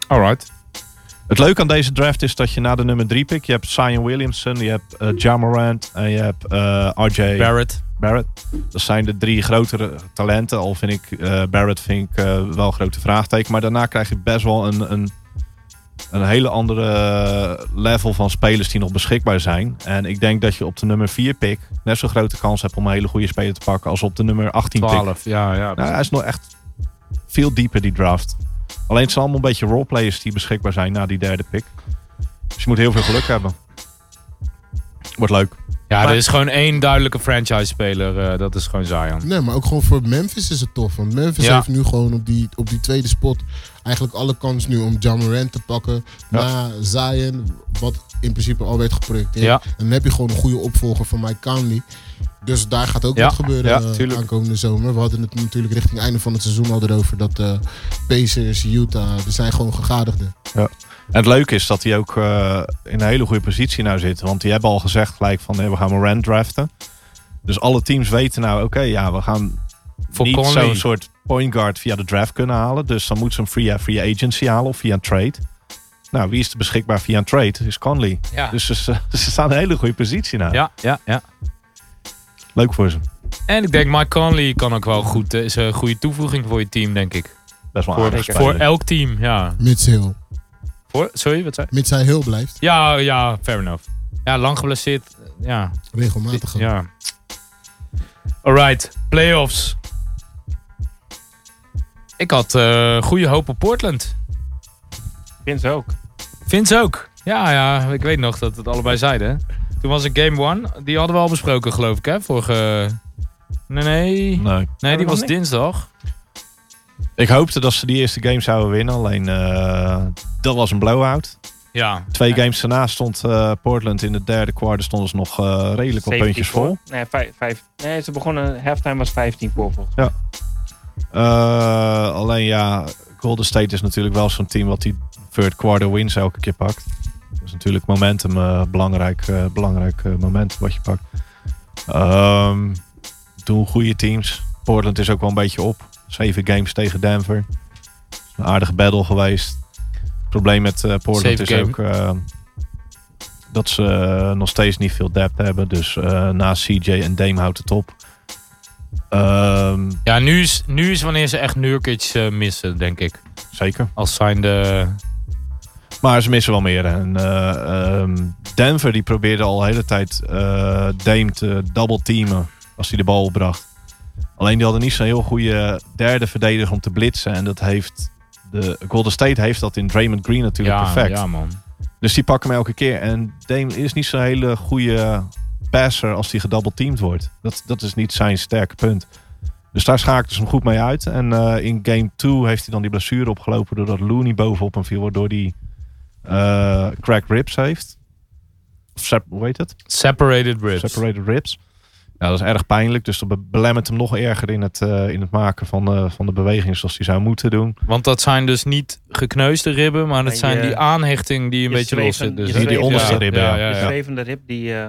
Alright. Het leuke aan deze draft is dat je na de nummer 3 pick... Je hebt Zion Williamson, je hebt eh Ja Morant en je hebt eh, RJ Barrett. Barrett. Dat zijn de drie grotere talenten. Al vind ik eh, Barrett vind ik, eh, wel een grote vraagteken. Maar daarna krijg je best wel een, een, een hele andere eh, level van spelers die nog beschikbaar zijn. En ik denk dat je op de nummer 4 pick net zo'n grote kans hebt om een hele goede speler te pakken als op de nummer 18 pick. 12, ja, ja. Nou, hij is nog echt veel dieper die draft. Alleen het zijn allemaal een beetje roleplayers die beschikbaar zijn na die derde pick. Dus je moet heel veel geluk hebben. Wordt leuk. ja, er is gewoon één duidelijke franchise-speler, eh, dat is gewoon Zion. Nee, maar ook gewoon voor Memphis is het tof. Want Memphis Ja. heeft nu gewoon op die, op die tweede spot eigenlijk alle kans nu om John Morant te pakken. Ja. Na Zion, wat in principe al werd geprojecteerd. Ja. En dan heb je gewoon een goede opvolger van Mike Conley. Dus daar gaat ook Ja, wat gebeuren ja, eh, tuurlijk. aankomende zomer. We hadden het natuurlijk richting het einde van het seizoen al erover. Dat eh Pacers, Utah, er zijn gewoon gegadigden. En het leuke is dat hij ook eh, in een hele goede positie nou zit. Want die hebben al gezegd gelijk van nee, we gaan Morant draften. Dus alle teams weten nou, oké, ja, we gaan voor niet Conley. zo'n soort point guard via de draft kunnen halen. Dus dan moet ze hem via free agency halen of via een trade. Nou, wie is er beschikbaar via een trade? Is Conley. Ja. Dus ze, ze staan in een hele goede positie nou. ja, ja, ja. Leuk voor ze. En ik denk Mike Conley kan ook wel goed. eh, Is een goede toevoeging voor je team, denk ik. Best wel Voor, aardig voor speler. elk team, ja. Mits heel. Voor, sorry, wat zei Mits hij heel blijft. Ja, ja, fair enough. Ja, lang geblesseerd. eh, Ja, Regelmatig. ook. ja. Alright, playoffs. Ik had eh, goede hoop op Portland. Vince ook. Vince ook. Ja, ja, ik weet nog dat het allebei zeiden. hè. Toen was het Game One. Die hadden we al besproken, geloof ik, hè? Vorige... Nee, nee. Nee. Nee, die nog was niet? dinsdag. Ik hoopte dat ze die eerste game zouden winnen. Alleen eh, dat was een blowout. Ja. Twee games daarna stond eh, Portland in de derde kwart. stonden ze nog eh, redelijk wat 17 puntjes voor. vol. Nee, vijf, vijf. nee, ze begonnen, halftime was 15 voor volgens Eh, alleen ja, Golden State is natuurlijk wel zo'n team wat die third quarter wins elke keer pakt. Dat is natuurlijk momentum, eh, belangrijk, eh, belangrijk eh, moment wat je pakt. Ehm, doen goede teams. Portland is ook wel een beetje op. Zeven games tegen Denver. Een aardige battle geweest. Het probleem met eh, Portland Zeven is game. ook eh, dat ze eh, nog steeds niet veel depth hebben. Dus eh, na CJ en Dame houdt het op. Ehm, Ja, nu is, nu is wanneer ze echt Nurkic eh, missen, denk ik. zeker. Als zijnde... Maar ze missen wel meer. En, eh, ehm, Denver die probeerde al de hele tijd eh, Dame te double teamen als hij de bal opbracht. Alleen die hadden niet zo'n heel goede derde verdediger om te blitsen. En dat heeft de Golden State heeft dat in Draymond Green natuurlijk ja, perfect. ja, man. Dus die pakken hem elke keer. En Dame is niet zo'n hele goede passer als die gedoubleteamd wordt. Dat, dat is niet zijn sterke punt. Dus daar schakelen ze hem goed mee uit. En eh, in game 2 heeft hij dan die blessure opgelopen doordat Looney bovenop hem viel. Waardoor hij eh crack ribs heeft. Of sep- hoe heet het? Separated ribs. Separated ribs. Nou, dat is erg pijnlijk. Dus dat be- belemmert hem nog erger in het, eh, in het maken van, eh, van de beweging zoals hij zou moeten doen. Want dat zijn dus niet gekneusde ribben, maar dat Maar zijn je- die aanhechting die een je beetje los zit. zweven- Dus je dat- Die- die ja, onderste ribben, ja. mij. ja, De ja. zwevende rib die, eh,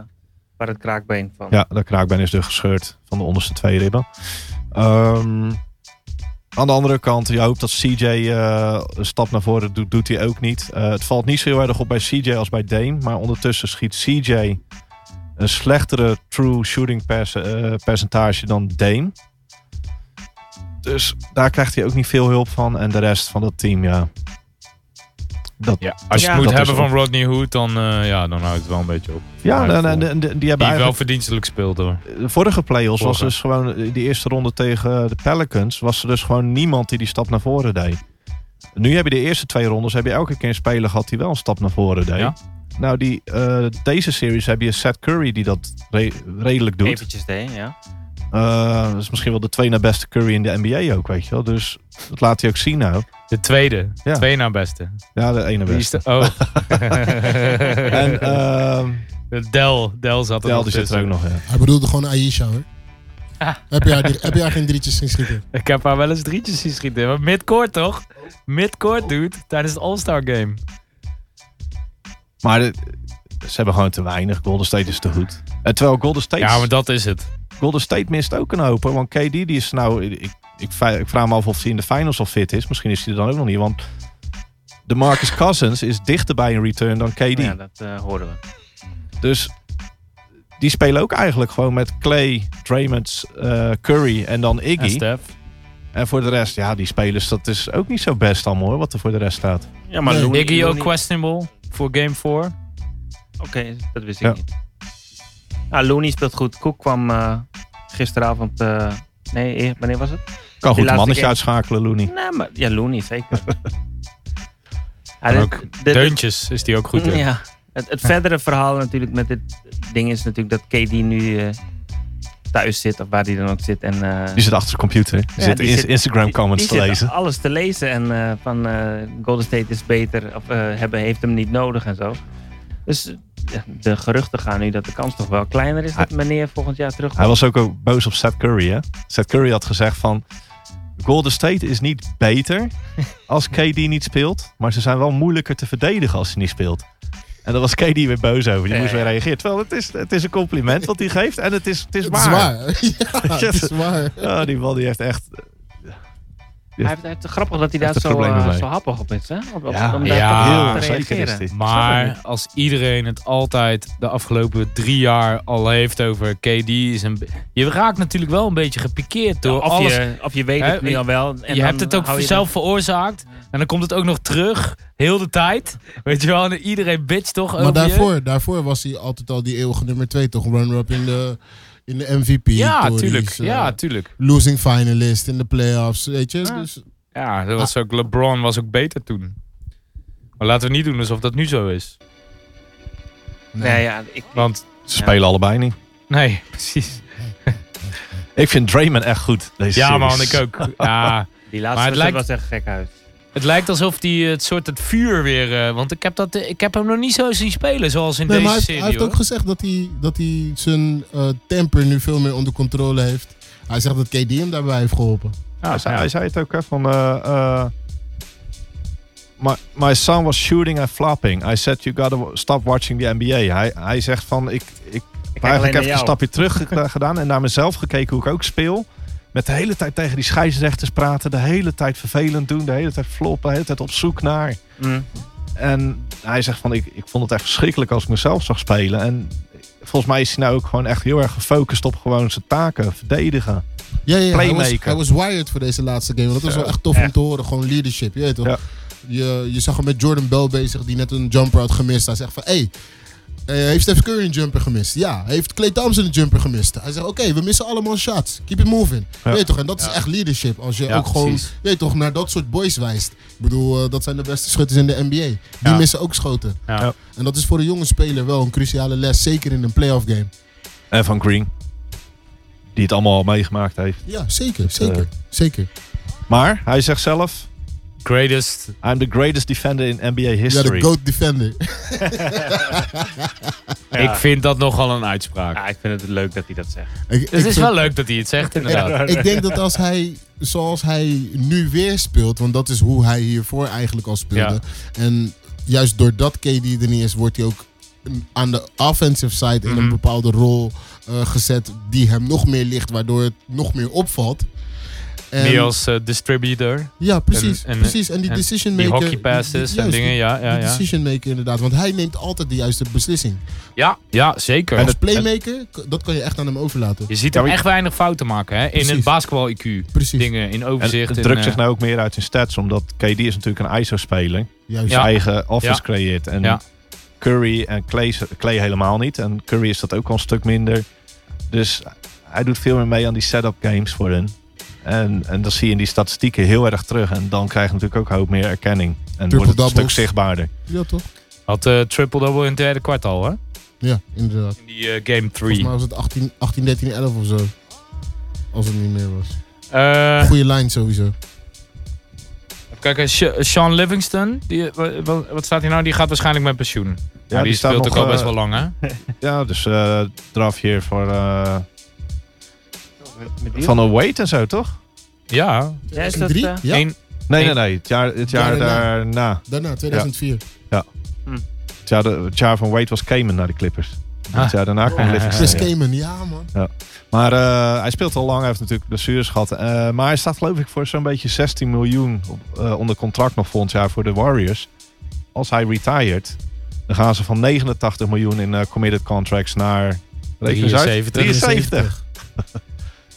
waar het kraakbeen van. Ja, de kraakbeen is dus gescheurd van de onderste twee ribben. Ehm, aan de andere kant, je hoopt dat CJ eh, een stap naar voren doet, doet hij ook niet. Eh, het valt niet zo heel erg op bij CJ als bij Dame. Maar ondertussen schiet CJ een slechtere true shooting perce- eh, percentage dan Dame. Dus daar krijgt hij ook niet veel hulp van. En de rest van dat team, ja. Dat, Ja, Als je Ja. het moet Dat is hebben ook- van Rodney Hood, dan, eh, ja, dan houdt het wel een beetje op. ja, Mijn en- en- gevoel. en- en- die hebben Die eigenlijk wel verdienstelijk speelt hoor. de vorige play-offs was Vorige. dus gewoon eh, die eerste ronde tegen eh, de Pelicans was er dus gewoon niemand die die stap naar voren deed. Nu heb je de eerste twee rondes heb je elke keer een speler gehad die wel een stap naar voren deed. Ja. Nou, die, eh, deze series heb je Seth Curry die dat re- redelijk doet. Eventjes deed, ja. Eh, dat is misschien wel de twee na beste Curry in de NBA ook, weet je wel. Dus dat laat hij ook zien nou. De tweede. Ja. Twee na beste. Ja, de ene Die is beste. de, oh. En ehm Del, Del zat er ja, nog die zit er tussen. ook nog in. Hij bedoelde gewoon Aisha hoor. heb, je haar, heb je haar geen drietjes zien schieten? Ik heb haar wel eens drietjes zien schieten. Maar midcourt toch? Midcourt, dude. Tijdens het All-Star game. Maar de- ze hebben gewoon te weinig. Golden State is te goed. En terwijl Golden State Ja, maar dat is het. Golden State mist ook een hoop. hoor. Want KD die is nou... Ik, ik, va- ik vraag me af of hij in de finals al fit is. Misschien is hij er dan ook nog niet. Want de Marcus Cousins is dichter bij een return dan KD. Ja, dat eh hoorden we. Dus die spelen ook eigenlijk gewoon met Clay, Draymond, eh, Curry en dan En Iggy. En, Steph. voor de rest, ja, die spelers, dat is ook niet zo best allemaal hoor, wat er voor de rest staat. Ja, maar Nee. Looney- Iggy ook Looney- questionable voor game 4. Oké, dat wist Ja. ik niet. Ah, Looney speelt goed. Koek kwam eh, gisteravond... eh, nee, eer- wanneer was het? Kan goed een laatste mannetje game. uitschakelen, Looney. Nee, maar... Ja, Looney, zeker. Ja, En dit- ook dit- dit- Deuntjes is die ook goed in. Ja. Het, het verdere verhaal natuurlijk met dit ding is natuurlijk dat KD nu eh, thuis zit of waar hij dan ook zit. En, eh, Die zit achter zijn computer. Die Ja, zit die in- zit- Instagram die- comments die te zit lezen. alles te lezen en eh, van eh, Golden State is beter of eh, hebben, heeft hem niet nodig en zo. Dus eh, de geruchten gaan nu dat de kans toch wel kleiner is dat meneer volgend jaar Hij terugkomt. was ook, ook boos op Seth Curry, hè? Seth Curry had gezegd van... Golden State is niet beter als KD niet speelt. Maar ze zijn wel moeilijker te verdedigen als hij niet speelt. En daar was KD weer boos over. Die Ja, moest weer ja. reageren. Terwijl het is, het is een compliment wat hij geeft. En het is, het is Het waar. is waar. Ja, het is waar. Ah, die man die heeft echt... Hij heeft het is grappig dat hij daar Echt een zo, probleem eh, mee. zo happig op is. Hè? Om, om Ja, daar ja, toch heel op te zeker is reageren. dit. Maar als iedereen het altijd de afgelopen drie jaar al heeft over KD... Is een, be- je raakt natuurlijk wel een beetje gepikeerd door of, alles. Je, je, of je weet Hè, het nu je- al wel. En dan hebt het ook hou je zelf veroorzaakt. En dan komt het ook nog terug. Heel de tijd. Weet je wel, en iedereen bitch toch over Maar je. daarvoor, daarvoor was hij altijd al die eeuwige nummer 2, toch? Runner-up in de, in de MVP. Ja, tories, tuurlijk. eh, Ja, tuurlijk. losing finalist in de playoffs, weet je? Dus, Ja, dat was ook, LeBron was ook beter toen. Maar laten we niet doen alsof dat nu zo is. Nee, ja, ik, Want, Ze spelen allebei niet. nee, precies. Ik vind Draymond echt goed. Deze Ja series. man, ik ook. Ja, die Maar laatste het wedstrijd lijkt- was echt gek uit. het lijkt alsof hij het soort het vuur weer... eh, want ik heb, dat, eh, ik heb hem nog niet zo zien spelen zoals in nee, maar deze hij, heeft- serie. hij heeft hoor. ook gezegd dat hij, dat hij zijn eh, temper nu veel meer onder controle heeft. Hij zegt dat KD hem daarbij heeft geholpen. Hij zei, hij zei het ook, hè, van... eh, eh, my, my son was shooting and flopping. I said you gotta wa- stop watching the NBA. Hij, hij zegt van, ik, ik heb alleen eigenlijk naar even een jou. stapje terug ge- gedaan... en naar mezelf gekeken hoe ik ook speel. Met de hele tijd tegen die scheidsrechters praten. De hele tijd vervelend doen. De hele tijd floppen. De hele tijd op zoek naar. Mm. En hij zegt van, ik, ik vond het echt verschrikkelijk als ik mezelf zag spelen. En volgens mij is hij nou ook gewoon echt heel erg gefocust op gewoon zijn taken. Verdedigen. Ja, ja, hij was, Playmaker. hij was wired voor deze laatste game. Dat was wel echt tof om echt. te horen. Gewoon leadership, je weet toch? Ja. Je, je zag hem met Jordan Bell bezig, die net een jumper had gemist. Hij zegt van, hé, hey, eh, heeft Steph Curry een jumper gemist? Ja. Heeft Clay Thompson een jumper gemist? Hij zegt, oké, we missen allemaal shots. Keep it moving. Ja. Je Weet toch? En dat is echt leadership. Als je Ja, ook gewoon, precies. je weet toch, naar dat soort boys wijst. Ik bedoel, eh, dat zijn de beste schutters in de NBA. Die Ja. missen ook schoten. Ja. Ja. En dat is voor een jonge speler wel een cruciale les. Zeker in een playoff game. En van Green. Die het allemaal al meegemaakt heeft. Ja, zeker. Zeker. Eh. Zeker. Maar hij zegt zelf... Greatest I'm the greatest defender in NBA Ja, history. de GOAT defender. Ik vind dat nogal een uitspraak. Ja, ik vind het leuk dat hij dat zegt. Ik- Dus ik het is vind- wel leuk dat hij het zegt, inderdaad. Ik, ik denk dat als hij, zoals hij nu weer speelt, want dat is hoe hij hiervoor eigenlijk al speelde. En juist doordat KD er niet is, wordt hij ook een- aan de offensive side in Mhm. een bepaalde rol eh, gezet die hem nog meer ligt, waardoor het nog meer opvalt. En- Meer als eh, distributor. ja, precies. en- en- precies. En die en decision Die maker. hockey passes en juist, dingen, ja. Die Ja, ja. decision maker inderdaad, want hij neemt altijd de juiste beslissing. ja, ja zeker. Als playmaker, k- dat kan je echt aan hem overlaten. je ziet Ja, hem maar- echt weinig fouten maken hè? in Precies. het basketbal-IQ. Precies. Dingen in En overzicht. het in, drukt eh, zich nou ook meer uit in stats. Omdat KD is natuurlijk een ISO-speler. Juist. Zijn eigen offense Ja. creëert. En Ja. Curry en Clay, Clay helemaal niet. En Curry is dat ook al een stuk minder. Dus hij doet veel meer mee aan die setup games voor hen. En, en dat zie je in die statistieken heel erg terug. En dan krijg je natuurlijk ook een hoop meer erkenning. En wordt het een stuk Triple-doubles. zichtbaarder. Ja, toch? Had eh, triple-double in het derde kwart al, hè? Ja, inderdaad. In die eh, game Volgens 3. mij was het 18, 18 13, 11 of zo. Als het niet meer was. Eh Goede lijn sowieso. even kijken, Sha- Sean Livingston. Die, eh, wa- wa- wat staat hij nou? Die gaat waarschijnlijk met pensioen. Ja, die, die staat speelt nog, ook al best eh, wel lang, hè? Ja, dus eh draf hier voor eh, Met- met wie? Van een weight en zo, toch? Ja. Ja, is In dat, drie? eh, ja, Eén- Nee, Nee. nee, nee. Het jaar, het jaar Daarna. daarna. daarna, 2004. Het jaar, het jaar van Wade was Cayman naar de Clippers. Ah. Het jaar daarna kwam Ah. Livingston. Chris ja. Kamen, ja man. Maar eh, hij speelt al lang, hij heeft natuurlijk blessures gehad. Eh, maar hij staat geloof ik voor zo'n beetje 16 miljoen op- eh, onder contract nog volgend jaar voor de Warriors. Als hij retired, dan gaan ze van 89 miljoen in eh, committed contracts naar... reken eens uit, 73. 73.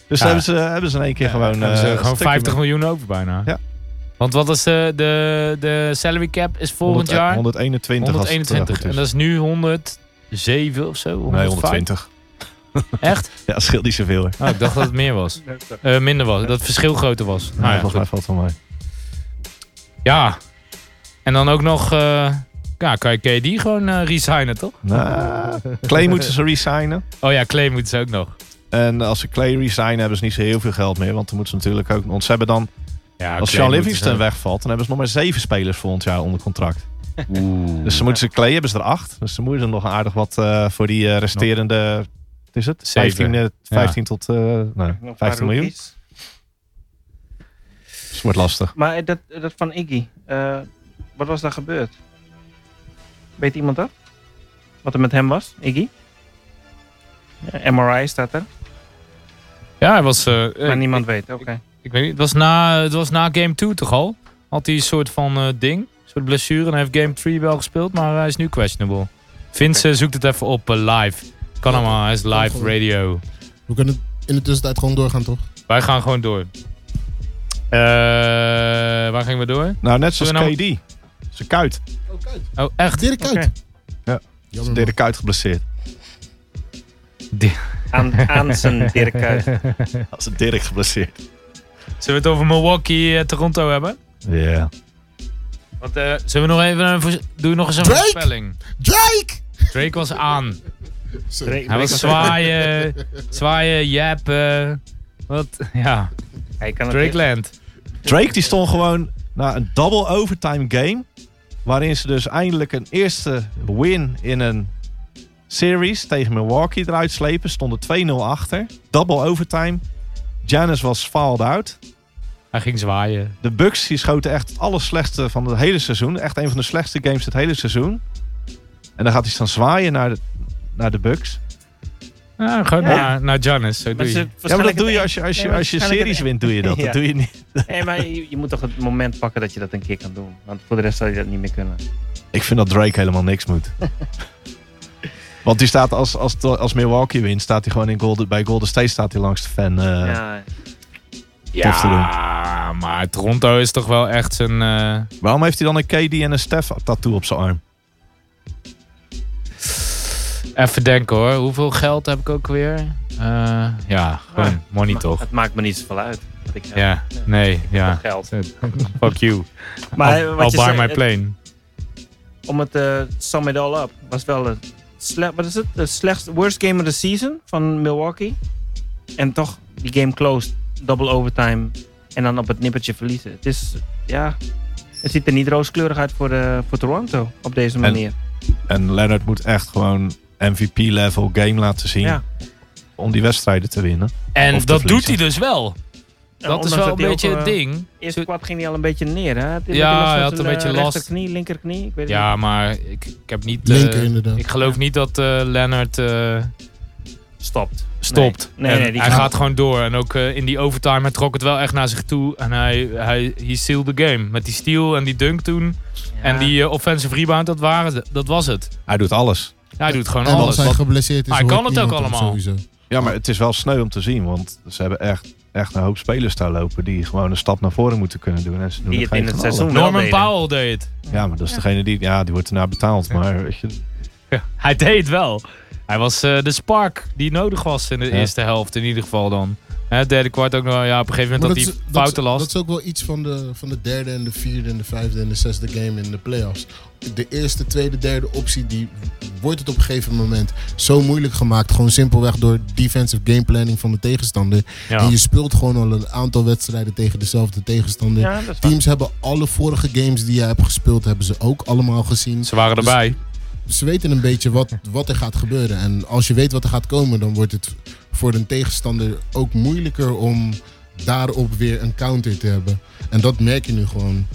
Dus Ja. hebben, ze, hebben ze in één keer gewoon... hebben ze eh, een gewoon stukje 50 meer. miljoen over bijna. Ja. Want wat is de, de, de salary cap? Is volgend 100 jaar? 121. als het, eh, 121. goed En is. dat is nu 107 of zo? Nee, 105? 120. Echt? Ja, dat scheelt niet zoveel. Hè. Oh, ik dacht dat het meer was. Eh, minder was. Dat het verschil groter was. Nou ja, volgens mij goed. valt het wel mee. ja. En dan ook nog... eh, ja, kan je KD gewoon eh, resignen, toch? Nou, Clay moeten ze resignen. Oh ja, Clay moeten ze ook nog. En als ze Clay resignen, hebben ze niet zo heel veel geld meer. Want dan moeten ze natuurlijk ook... Want ze hebben dan Ja, Als Clay dus Sean moeten Livingston ze- wegvalt, dan hebben ze nog maar zeven spelers volgend jaar onder contract. Dus ze moeten ze Clay hebben ze er acht. Dus ze moeten ze nog een aardig wat eh, voor die eh, resterende. Wat is het? Zeven. 15, eh, 15 tot eh nee, nog een paar 15 miljoen. rookies. Dus het wordt lastig. Maar eh, dat, dat van Iggy, eh, wat was daar gebeurd? Weet iemand dat? Wat er met hem was, Iggy. Ja, MRI staat er. Ja, hij was... eh, Maar ik- niemand ik, weet, oké. ik weet niet, het was, na, het was na game 2 toch al? Had hij een soort van eh, ding, een soort blessure. En hij heeft game 3 wel gespeeld, maar hij is nu questionable. Vince eh, zoekt het even op eh, live. Kan allemaal, hij is live radio. We kunnen in de tussentijd gewoon doorgaan, toch? Wij gaan gewoon door. Eh, waar gingen we door? Nou, net zoals Zullen we KD. Zijn kuit. Oh, Kuit. Oh, echt? Dirk Kuit. Oké. Ja. Jammer, man. Dirk Kuit geblesseerd. Aan, aan zijn Dirk Kuyt. Als een Dirk geblesseerd. Zullen we het over Milwaukee, eh, Toronto hebben? Ja. Want, eh, zullen we nog even een voorz- doe nog eens een Drake? voorspelling? Drake! Drake was aan. Sorry. Hij was zwaaien, zwaaien, jappen. Wat? Ja, Hij kan het Drake niet. Land. Drake die stond gewoon na een double overtime game. Waarin ze dus eindelijk een eerste win in een series tegen Milwaukee eruit slepen. Stonden 2-0 achter. Double overtime. Giannis was fouled out. Hij ging zwaaien. De Bucks die schoten echt het allerslechtste van het hele seizoen. Echt een van de slechtste games het hele seizoen. En dan gaat hij staan zwaaien naar de, naar de Bucks. Ja, gewoon Ja. naar, naar Giannis. Zo Maar doe je. ze- Ja, maar dat waarschijnlijk doe je het- als je, als Nee, je, maar als je waarschijnlijk series het- wint, doe je dat. Ja. Dat doe je niet. Nee, maar je, je moet toch het moment pakken dat je dat een keer kan doen. Want voor de rest zou je dat niet meer kunnen. Ik vind dat Drake helemaal niks moet. Want die staat als, als, als Milwaukee wint, staat hij gewoon in Golden, bij Golden State staat hij langs de fan. eh, ja, tof te Ja, maar Toronto is toch wel echt zijn... eh, Waarom heeft hij dan een KD en een Steph tattoo op zijn arm? Even denken hoor. Hoeveel geld heb ik ook weer? Eh, ja, gewoon Maar- money maar toch. Het maakt me niet zoveel uit. Wat ik heb. Ja, nee, ja. Geld. Fuck you. Maar I'll, eh, wat I'll je buy zei, my het- plane. om het eh sum it all up, was wel de, sle- wat is het? de slechtste, worst game of the season van Milwaukee. En toch, die game closed, double overtime en dan op het nippertje verliezen. Het is, ja, het ziet er niet rooskleurig uit voor, eh, voor Toronto op deze manier. En Leonard moet echt gewoon MVP-level game laten zien Ja. om die wedstrijden te winnen. En Of te dat doet hij verliezen. dus wel. En Dat is ondanks wel een hij beetje ook, het eh, ding. Eerste Zo- kwart ging hij al een beetje neer, hè? Had Ja, last van hij had zijn, een eh, beetje last. Rechterknie, linkerknie, ik weet het Ja, maar ik, ik heb niet... eh, Linker, inderdaad. ik geloof niet dat eh Leonard eh, niet. Stopt. stopt. Nee, En nee, die hij gaat- gaat gewoon door. En ook eh, in die overtime, hij trok het wel echt naar zich toe. En hij, hij he sealed the game. Met die steal en die dunk toen. En die eh, offensive rebound, dat, waren, ze- dat was het. Hij doet alles. Ja, hij doet gewoon En als alles. hij geblesseerd is, Ah, Hij kan hoort het ook niemand allemaal. Sowieso. Ja, maar het is wel sneu om te zien, want ze hebben echt, echt een hoop spelers daar lopen die gewoon een stap naar voren moeten kunnen doen. En ze doen Die er het in geen het van allen. seizoen wel Norman deden. Powell deed het. Ja, maar dat is degene die, ja, die wordt erna betaald. Maar weet je, Hij deed het wel. Hij was eh, de spark die nodig was in de Ja. eerste helft in ieder geval dan. Hè, derde kwart ook nog. Ja, op een gegeven Maar moment had is- hij fouten is- last. dat is ook wel iets van de, van de derde en de vierde en de vijfde en de zesde game in de playoffs. De eerste, tweede, derde optie, die wordt het op een gegeven moment zo moeilijk gemaakt. Gewoon simpelweg door defensive game planning van de tegenstander. Ja. En je speelt gewoon al een aantal wedstrijden tegen dezelfde tegenstander. Ja, dat is waar. Teams hebben alle vorige games die jij hebt gespeeld, hebben ze ook allemaal gezien. Ze waren Dus- erbij. Ze weten een beetje wat, wat er gaat gebeuren. En als je weet wat er gaat komen, dan wordt het voor een tegenstander ook moeilijker om daarop weer een counter te hebben. En dat merk je nu gewoon.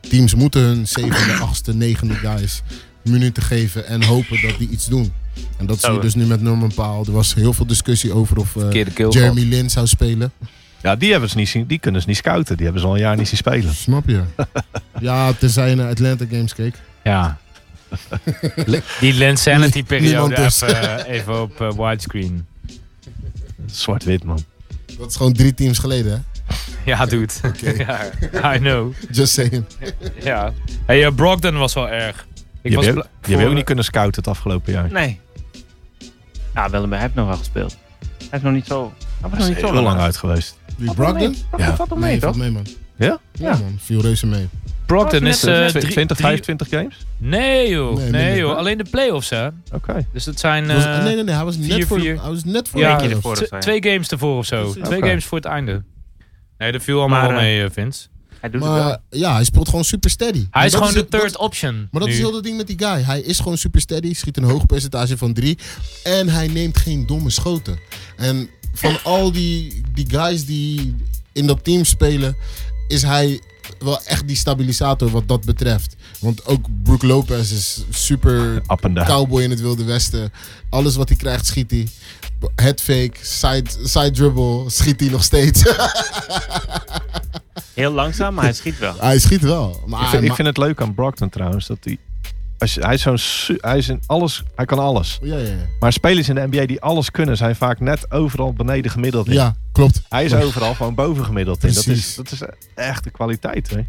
Teams moeten hun zevende, achtste, negende guys minuten geven en hopen dat die iets doen. En dat zie je Zo. dus nu met Norman Paal. Er was heel veel discussie over of eh, Verkeerde keel Jeremy Lin zou spelen. ja, die, hebben ze niet zien, die kunnen ze niet scouten. Die hebben ze al een jaar niet zien spelen. Snap je? ja, tenzij je naar Atlanta Games keek. Ja. die Lensanity periode Niemand dus. even, even op eh, widescreen. Zwart-wit, man. Dat is gewoon drie teams geleden, hè? Ja, dude. ja, I know. Just saying. Ja. Hey, eh, Brogdon was wel erg. Ik Die was hebben ook, bla- die hebben ook voor- niet kunnen scouten het afgelopen jaar. Nee. Ja, wel, maar hij heeft nog wel gespeeld. Hij is nog niet zo... Hij was nog Dat niet is zo heel lang uit geweest. Wie Brogdon? Ja. Ja. Valt toch mee, nee, toch? valt mee, man. Ja? Ja, man. Viel reuze Eh, mee. Brogdon net is... een- eh, net Twi- drie- 20, drie- 25 games? Nee joh, nee, Nee, minder. joh. Alleen de playoffs hè. Oké. Dus dat zijn... Het was- eh, nee, nee, nee. Hij was, net voor, 4-4. hij was net voor Ja, de Eentje playoffs. ervoor. Tw- zijn. twee games ervoor of zo. Precies. Twee Oké. games voor het einde. Nee, dat viel allemaal Maar, wel eh, mee, eh, Vince. Hij doet het wel. Maar ja, hij speelt gewoon super steady. Hij En is dat gewoon de het- dat- third option. maar dat nu. is heel dat ding met die guy. Hij is gewoon super steady, schiet een hoog percentage van drie. En hij neemt geen domme schoten. En van al die, die guys die in dat team spelen, is hij wel echt die stabilisator wat dat betreft. Want ook Brook Lopez is super Up and down. cowboy in het Wilde Westen. Alles wat hij krijgt, schiet hij. Headfake, side, side dribble, schiet hij nog steeds. Heel langzaam, maar hij schiet wel. hij schiet wel. ik, Maar, vind, ik Ah, maar- vind het leuk aan Brockton trouwens dat hij. Als je, hij, is zo'n, su- hij is in alles. Hij kan alles. ja, ja, ja. Maar spelers in de NBA die alles kunnen, zijn vaak net overal beneden gemiddeld. In. ja, klopt. Hij is Klopt. overal gewoon boven gemiddeld. In. Dat, is, Precies. dat is echt de kwaliteit. Hè? Hij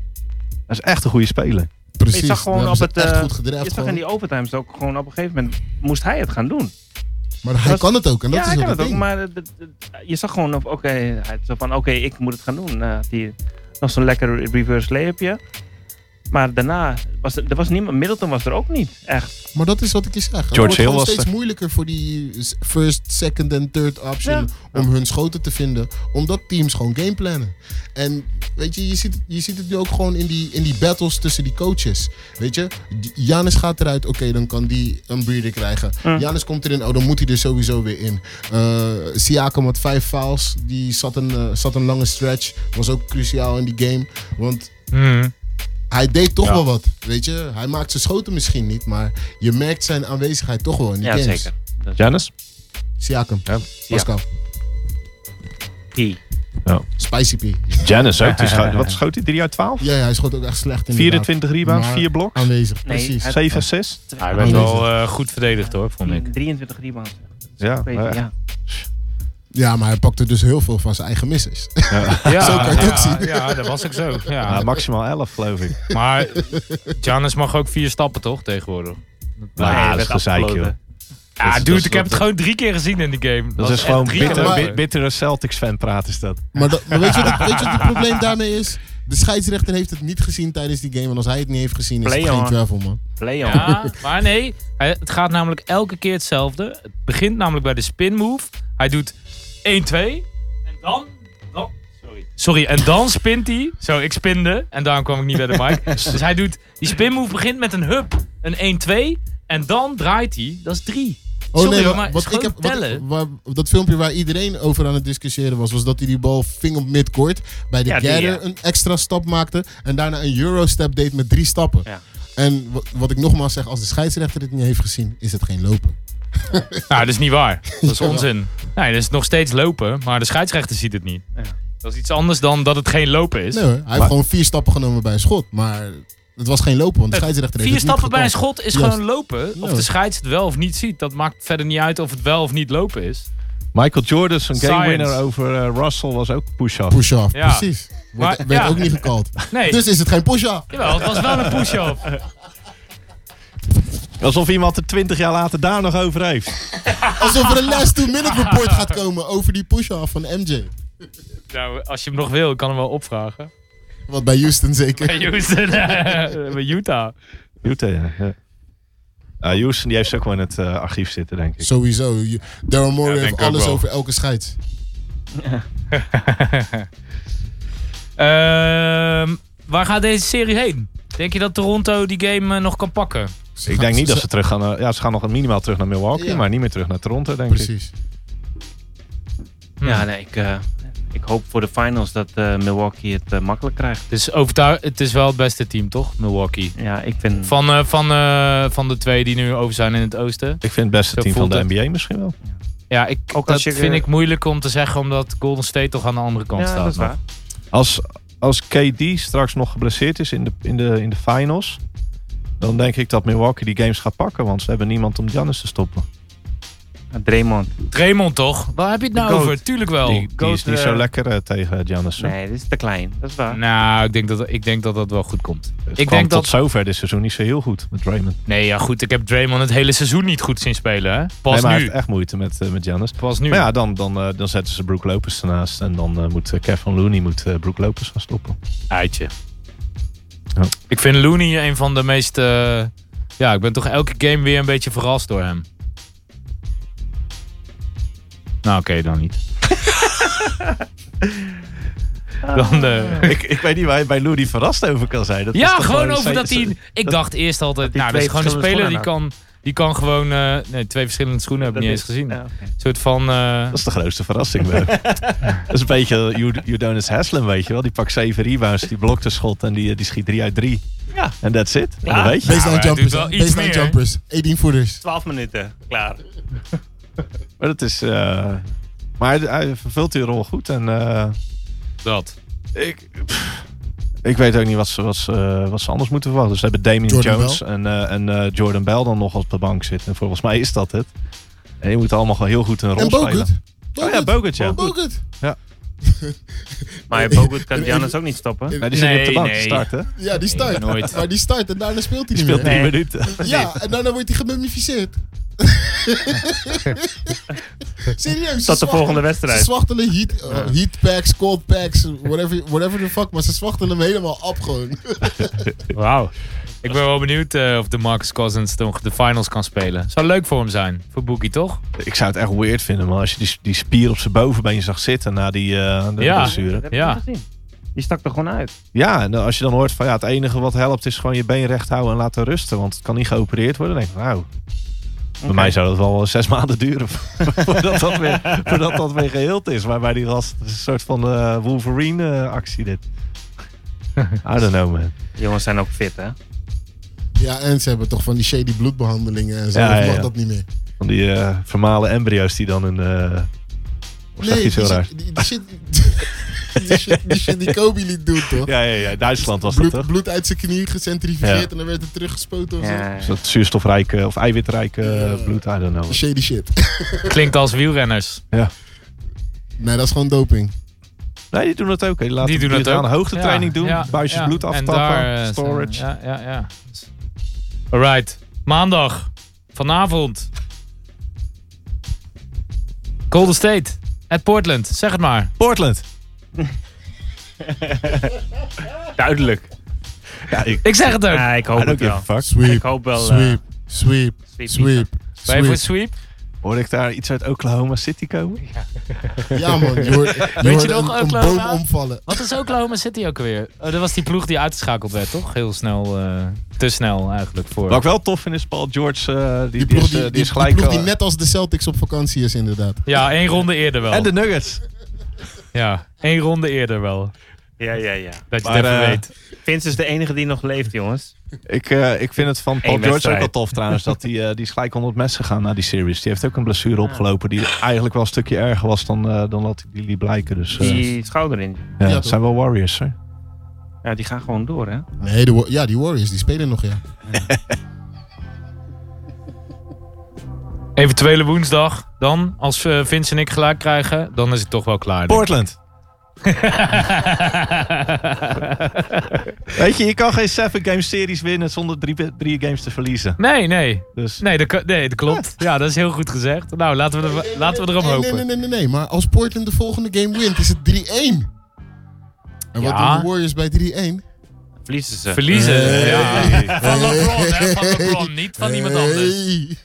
is echt een goede speler. Precies. Je zag gewoon Daar op hebben het. ze echt eh, goed je gedraft. zag in die overtimes ook gewoon op een gegeven moment moest hij het gaan doen. Maar hij dat- kan het ook. En dat ja, is hij kan het ook het ook, ding. maar het- het- het- je zag gewoon of oké, hij zo van oké, ik moet het gaan doen. Eh, had hij nog zo'n lekker reverse layupje. Maar daarna was er, er was niemand, Middleton was er ook niet echt. Maar dat is wat ik je zeg. Het George wordt Hill gewoon was steeds er. moeilijker voor die first, second en third option om hun schoten te vinden. Omdat teams gewoon gameplannen. En weet je, je ziet, je ziet het nu ook gewoon in die, in die battles tussen die coaches. Weet je, Janis gaat eruit, oké, dan kan die een breeder krijgen. Janis komt erin, oh, dan moet hij er sowieso weer in. Eh Siakam had vijf fouls, die zat een, eh, zat een lange stretch. Was ook cruciaal in die game, want Hmm. hij deed toch Ja. wel wat, weet je. Hij maakt zijn schoten misschien niet, maar je merkt zijn aanwezigheid toch wel in die Ja, games. zeker. Dat is Janis? Siakam, Ja. Pascal, key. Spicy P. Janis ook. Die scho- wat schoot hij? 3 uit 12? Ja, ja, hij schoot ook echt slecht in 24 rebounds, Maar- 4 bloks, Aanwezig, Nee, precies. hij- 7 assists. Hij Ah, werd wel eh, goed verdedigd hoor, vond ik. 23 rebounds. Ja, Ik weet maar- het, ja. Ja, maar hij pakte dus heel veel van zijn eigen misses. Ja, Zo kan je het ook ja, zien. ja, dat was ook zo. ja, Ja. maximaal 11 geloof ik. Maar Giannis mag ook vier stappen toch tegenwoordig? Nou, hij dat is werd gezeik, afgefloten. joh. Ja, Dat is- dat dude, is ik heb het wat- gewoon drie keer gezien in die game. Dat Was is echt gewoon drie bitter, keer maar- bi- over. bittere Celtics fan praat is dat. Maar, dat, maar weet, je wat, het- weet je wat het probleem daarmee is? De scheidsrechter heeft het niet gezien tijdens die game. En als hij het niet heeft gezien, is het Play geen on. travel, man. Play on. Ja, maar nee, hij- het gaat namelijk elke keer hetzelfde. Het begint namelijk bij de spin move. Hij doet 1, 2 en dan... dan sorry. sorry, en dan spint hij. Zo, ik spinde en daarom kwam ik niet bij de mic. Dus hij doet... Die spin move begint met een hub, een 1, 2 en dan draait hij. Dat is 3. Oh sorry, nee, hoor, wa- maar wat het is ik gewoon heb, wat, tellen. waar- dat filmpje waar iedereen over aan het discussiëren was, was dat hij die bal ving op midcourt, bij de Ja, die, gather ja. een extra stap maakte en daarna een eurostep deed met drie stappen. Ja. En wa- wat ik nogmaals zeg, als de scheidsrechter dit niet heeft gezien, is het geen lopen. Nou, dat is niet waar. Dat is onzin. Nee, dat is nog steeds lopen, maar de scheidsrechter ziet het niet. Ja. Dat is iets anders dan dat het geen lopen is. Nee hoor, hij heeft gewoon vier stappen genomen bij een schot, maar het was geen lopen, want de Het- scheidsrechter heeft Vier het niet stappen bij een gekald. schot is Juist. gewoon lopen. Of Ja. de scheids het wel of niet ziet. Dat maakt verder niet uit of het wel of niet lopen is. Michael Jordan, zijn Science. game winner over eh, Russell, was ook push-off. Push-off, Ja. precies. Maar- Wordt, werd ja. ook niet gekald. Nee, Dus is het geen push-off. jawel, het was wel een push-up. Alsof iemand er 20 jaar later daar nog over heeft. Alsof er een last two-minute report gaat komen over die push-off van MJ. nou, als je hem nog wil, ik kan hem wel opvragen. Wat bij Houston zeker. Bij Houston, eh, bij Utah. Utah, ja. ja. Ah, Houston, die heeft ze ook wel in het eh, archief zitten, denk ik. Sowieso. Je- Daryl Morey Ja, denk ik heeft ook alles wel. over elke scheids. Ehm, waar gaat deze serie heen? Denk je dat Toronto die game eh, nog kan pakken? Ze Ik gaan- denk niet ze- dat ze terug gaan. naar- ja, ze gaan nog minimaal terug naar Milwaukee, Ja. maar niet meer terug naar Toronto, denk ik. Precies. Ja, nee, ik, eh, ik hoop voor de finals dat eh, Milwaukee het eh, makkelijk krijgt. Het is, overtuig- het is wel het beste team, toch? Milwaukee. Ja, ik vind... Van, eh, van, eh, van de twee die nu over zijn in het oosten. Ik vind het beste Zo team van voelt de het. NBA misschien wel. Ja, ik, Ook dat als je- vind ik moeilijk om te zeggen, omdat Golden State toch aan de andere kant ja, staat. dat is nog. waar. Als, als KD straks nog geblesseerd is in de, in, de, in de finals, dan denk ik dat Milwaukee die games gaat pakken, want ze hebben niemand om Giannis te stoppen. Oh, Draymond. Draymond toch? Waar heb je het nou Goat. over? Tuurlijk wel. die die Goat, is niet eh, zo lekker eh, tegen Giannis. hoor. Nee, dit is te klein. Dat is waar. Nou, ik denk, dat, ik denk dat dat wel goed komt. Het ik kwam denk tot dat... zover dit seizoen niet zo heel goed met Draymond. Nee, ja goed, ik heb Draymond het hele seizoen niet goed zien spelen. Hè? Nee, Pas maar hij nu. heeft echt moeite met, eh, met Giannis. Pas nu. Maar ja, dan, dan, eh, dan zetten ze Brook Lopez ernaast. En dan eh, moet eh, Kevin Looney moet, eh, Brook Lopez gaan stoppen. Eitje. Ja. Ik vind Looney een van de meest... eh, ja, ik ben toch elke game weer een beetje verrast door hem. Nou, oké, dan niet. dan... eh, ik, ik weet niet waar je bij Looney verrast over kan zijn. Dat is Ja, toch gewoon een over se- dat hij. Ik dacht eerst altijd. die nou, dat is twee gewoon een verschillende speler die schoenen kan Die kan gewoon... eh, nee, twee verschillende schoenen heb ik Dat niet is- eens gezien. ja, oké. Een soort van... eh, Dat is de grootste verrassing. Bro. dat is een beetje Ju- Udonis Haslem, weet je wel. Die pakt zeven rebounds, die blokt een schot en die, die schiet drie uit drie. Ja. En that's it. Ja. Dat weet je. Based maar on hij doet jumpers. wel hè? iets Based on meer, hè? jumpers. 18 voeters. 12 minuten, klaar. Maar dat is... eh, maar hij, hij vervult die rol goed. En eh, dat. ik... pff, ik weet ook niet wat ze, wat, ze, eh, wat ze anders moeten verwachten. Dus ze hebben Damien Jordan Jones Bell. en, eh, en eh, Jordan Bell dan nog op de bank zitten. En volgens mij is dat het. En die moeten allemaal gewoon heel goed een rol En spelen. Bogut. Oh ja, Bogut, ja. Bogut. Maar Bogut kan Giannis ook niet stoppen. Ja, die zit Nee, op de bank nee. te starten. hè? Ja, die Nee, start. nooit. Maar die start en daarna speelt hij Die niet speelt meer. drie Nee. minuten. Ja, en daarna wordt hij gemummificeerd. Serieus. Tot ze de volgende zwachtelen- Ze wedstrijd. zwachtelen heat, eh, heat packs, cold packs, whatever, whatever the fuck. Maar ze zwachtelen hem helemaal op gewoon. Wauw. Ik ben wel benieuwd eh, of de Marcus Cousins toch de finals kan spelen. Zou leuk voor hem zijn. Voor Boogie, toch? Ik zou het echt weird vinden, man. Als je die, die spier op zijn bovenbeen zag zitten na die eh de Ja. blessure. Dat heb ik Ja. niet gezien. Die stak er gewoon uit. Ja, en eh, als je dan hoort van ja, het enige wat helpt is gewoon je been recht houden en laten rusten. Want het kan niet geopereerd worden. Dan denk ik, nou, bij mij zou dat wel eh, zes maanden duren voordat, dat weer, voordat dat weer geheeld is. Maar bij die gast het is een soort van eh, Wolverine eh, actie dit. I don't know, man. Die jongens zijn ook fit, hè? Ja, en ze hebben toch van die shady bloedbehandelingen en zo. Ja, of ja, mag ja. dat niet meer. Van die eh, vermalen embryo's die dan een... eh of zeg je Nee, iets heel die, raar? shit- die, die shit, die, shit, die shit die Kobe liet doen, toch? Ja, ja, ja. Duitsland was dat bloed, toch? bloed uit zijn knie gecentrifugeerd Ja. en dan werd het teruggespoten of zo. Ja, Dus dat zuurstofrijke of eiwitrijke eh, bloed, I don't know. Shady shit. Klinkt als wielrenners. Nee, dat is gewoon doping. Nee, die doen dat ook. hè. Die laten Die doen dat aan ook. hoogtetraining doen, buisjes ja. bloed En aftappen, daar, eh, storage. Ja, ja, ja. Alright. Maandag. Vanavond. Golden State. At Portland. Zeg het maar. Portland. Duidelijk. Ja, ik Ik zeg het ook. Ja, ik hoop I don't het give a wel. fuck. Ik Sweep, hoop wel... eh, sweep, sweep, sweep. sweep, Ben je voor sweep. sweep? Hoor ik daar iets uit Oklahoma City komen? Ja man, je hoort, je je hoort nog, een, een boom Oklahoma? omvallen. Wat is Oklahoma City ook alweer? Oh, dat was die ploeg die uitgeschakeld werd, toch? Heel snel. eh, te snel eigenlijk voor. Wat ik wel tof vind is Paul George, eh, die, Die die ploeg is, eh, die, die die, is gelijk... ploeg die eh, net als de Celtics op vakantie is inderdaad. Ja, één ronde eerder wel. en de Nuggets. Ja, één ronde eerder wel. Ja, ja, ja. Dat je Maar, het even eh, weet. Vince is de enige die nog leeft, jongens. Ik, eh, ik vind het van Paul Eén George ook wedstrijd. wel tof trouwens, dat die, eh, die is gelijk onder het mes gegaan na die series. Die heeft ook een blessure opgelopen die eigenlijk wel een stukje erger was dan, eh, dan dat die liet blijken. Dus eh, Die schouder in. ja, Ja, het toch. zijn wel Warriors, hè? Ja, die gaan gewoon door, hè? Nee, de, Wa- ja, die Warriors die spelen nog ja. Eventuele woensdag dan, als eh, Vince en ik gelijk krijgen, dan is het toch wel klaar. denk ik. Portland. Weet je, je kan geen 7-game series winnen zonder drie, drie games te verliezen. nee, nee. Dus Nee dat, kan- nee, dat klopt. Ja, dat is heel goed gezegd. Nou, laten we, er, laten we erop nee, nee, nee, hopen. nee, nee, nee, maar als Portland de volgende game wint is het 3-1. En wat Ja. doen de Warriors bij 3-1? Verliezen ze. Verliezen. Ja. Van LeBron, hè? Van Hey. LeBron, niet van iemand anders. Hey.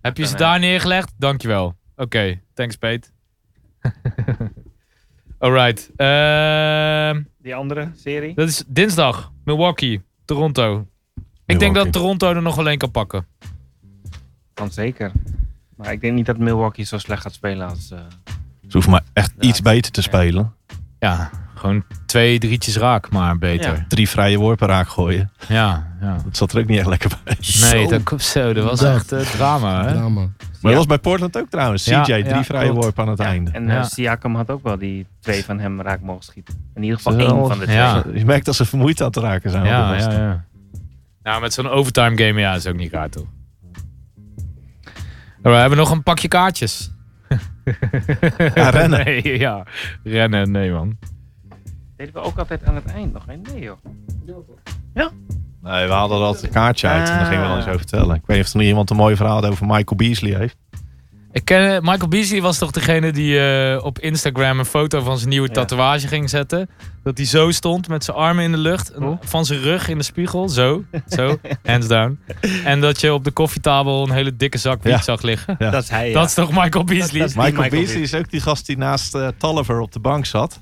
Heb je ze daar neergelegd? Dankjewel. Oké, thanks, Peet. Alright. Ehm, die andere serie. dat is dinsdag. Milwaukee, Toronto. Ik denk Milwaukee. dat Toronto er nog wel één kan pakken. Kan zeker. Maar ik denk niet dat Milwaukee zo slecht gaat spelen als... eh, Ze hoeven maar echt Ja. iets beter te spelen. Ja, gewoon twee drietjes raak, maar beter. Drie vrije worpen raak gooien. Ja, ja. Dat zat er ook niet echt lekker bij. Nee, Zo. dat, ko- zo, dat was Dat. echt eh, drama, hè? Ja, man. Maar dat was bij Portland ook trouwens. CJ, Ja, drie ja, vrije klopt. worpen aan het einde. En eh, Ja. Siakam had ook wel die twee van hem raak mogen schieten. In ieder geval Ze één wel- van de twee. Ja. Je merkt dat ze vermoeid aan het raken zijn. Ja, Dat was ja, het. ja. Nou, met zo'n overtime game, ja, is ook niet raar, toch? Maar we hebben nog een pakje kaartjes. Ja, rennen. Nee, ja. Rennen, nee, man. Deden we ook altijd aan het eind nog, hè? Nee, joh. Nee, we hadden er altijd een kaartje uit en daar gingen we dan eens over vertellen. Ik weet niet of er nog iemand een mooi verhaal over Michael Beasley heeft. Ik ken, eh, Michael Beasley was toch degene die eh, op Instagram een foto van zijn nieuwe Ja. tatoeage ging zetten. Dat hij zo stond met zijn armen in de lucht, en Hoe? van zijn rug in de spiegel, zo, zo, hands down. En dat je op de koffietafel een hele dikke zak wiet Ja. zag liggen. Ja. Dat is hij, ja. Dat is toch Michael Beasley? dat is- Die Michael, Michael Beasley is ook die gast die naast eh Tolliver op de bank zat.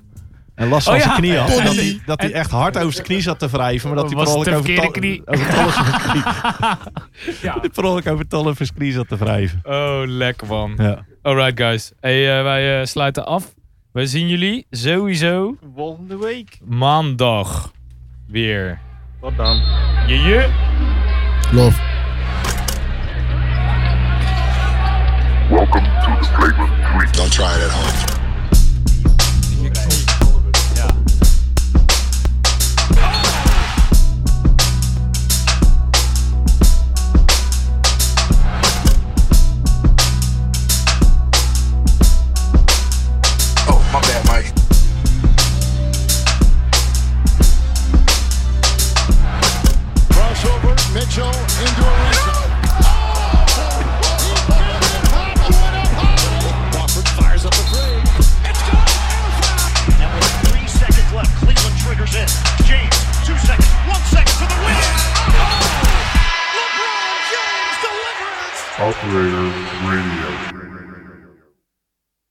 En last van Oh ja. zijn knie had. En dat, Tony. hij, dat hij echt hard over zijn knie zat te wrijven. Maar dat hij per Was het ongeluk de over, tol- verkeerde over Tollef's knie- Ja. per ongeluk over Tollef's knie zat te wrijven. Oh, lekker man. Ja. Alright guys. Hey, eh, wij eh, sluiten af. We zien jullie sowieso Volgende week. maandag weer. Tot dan. Je je. Love. Welcome to the Flagrant 3. Don't try it at home. Oh, my bad, Mike. Crossover, Mitchell into a ring. Crawford fires up the three. It's good. Now with three seconds left, Cleveland triggers in. James, two seconds, one second for the win. Oh! LeBron James delivers. Operator Radio.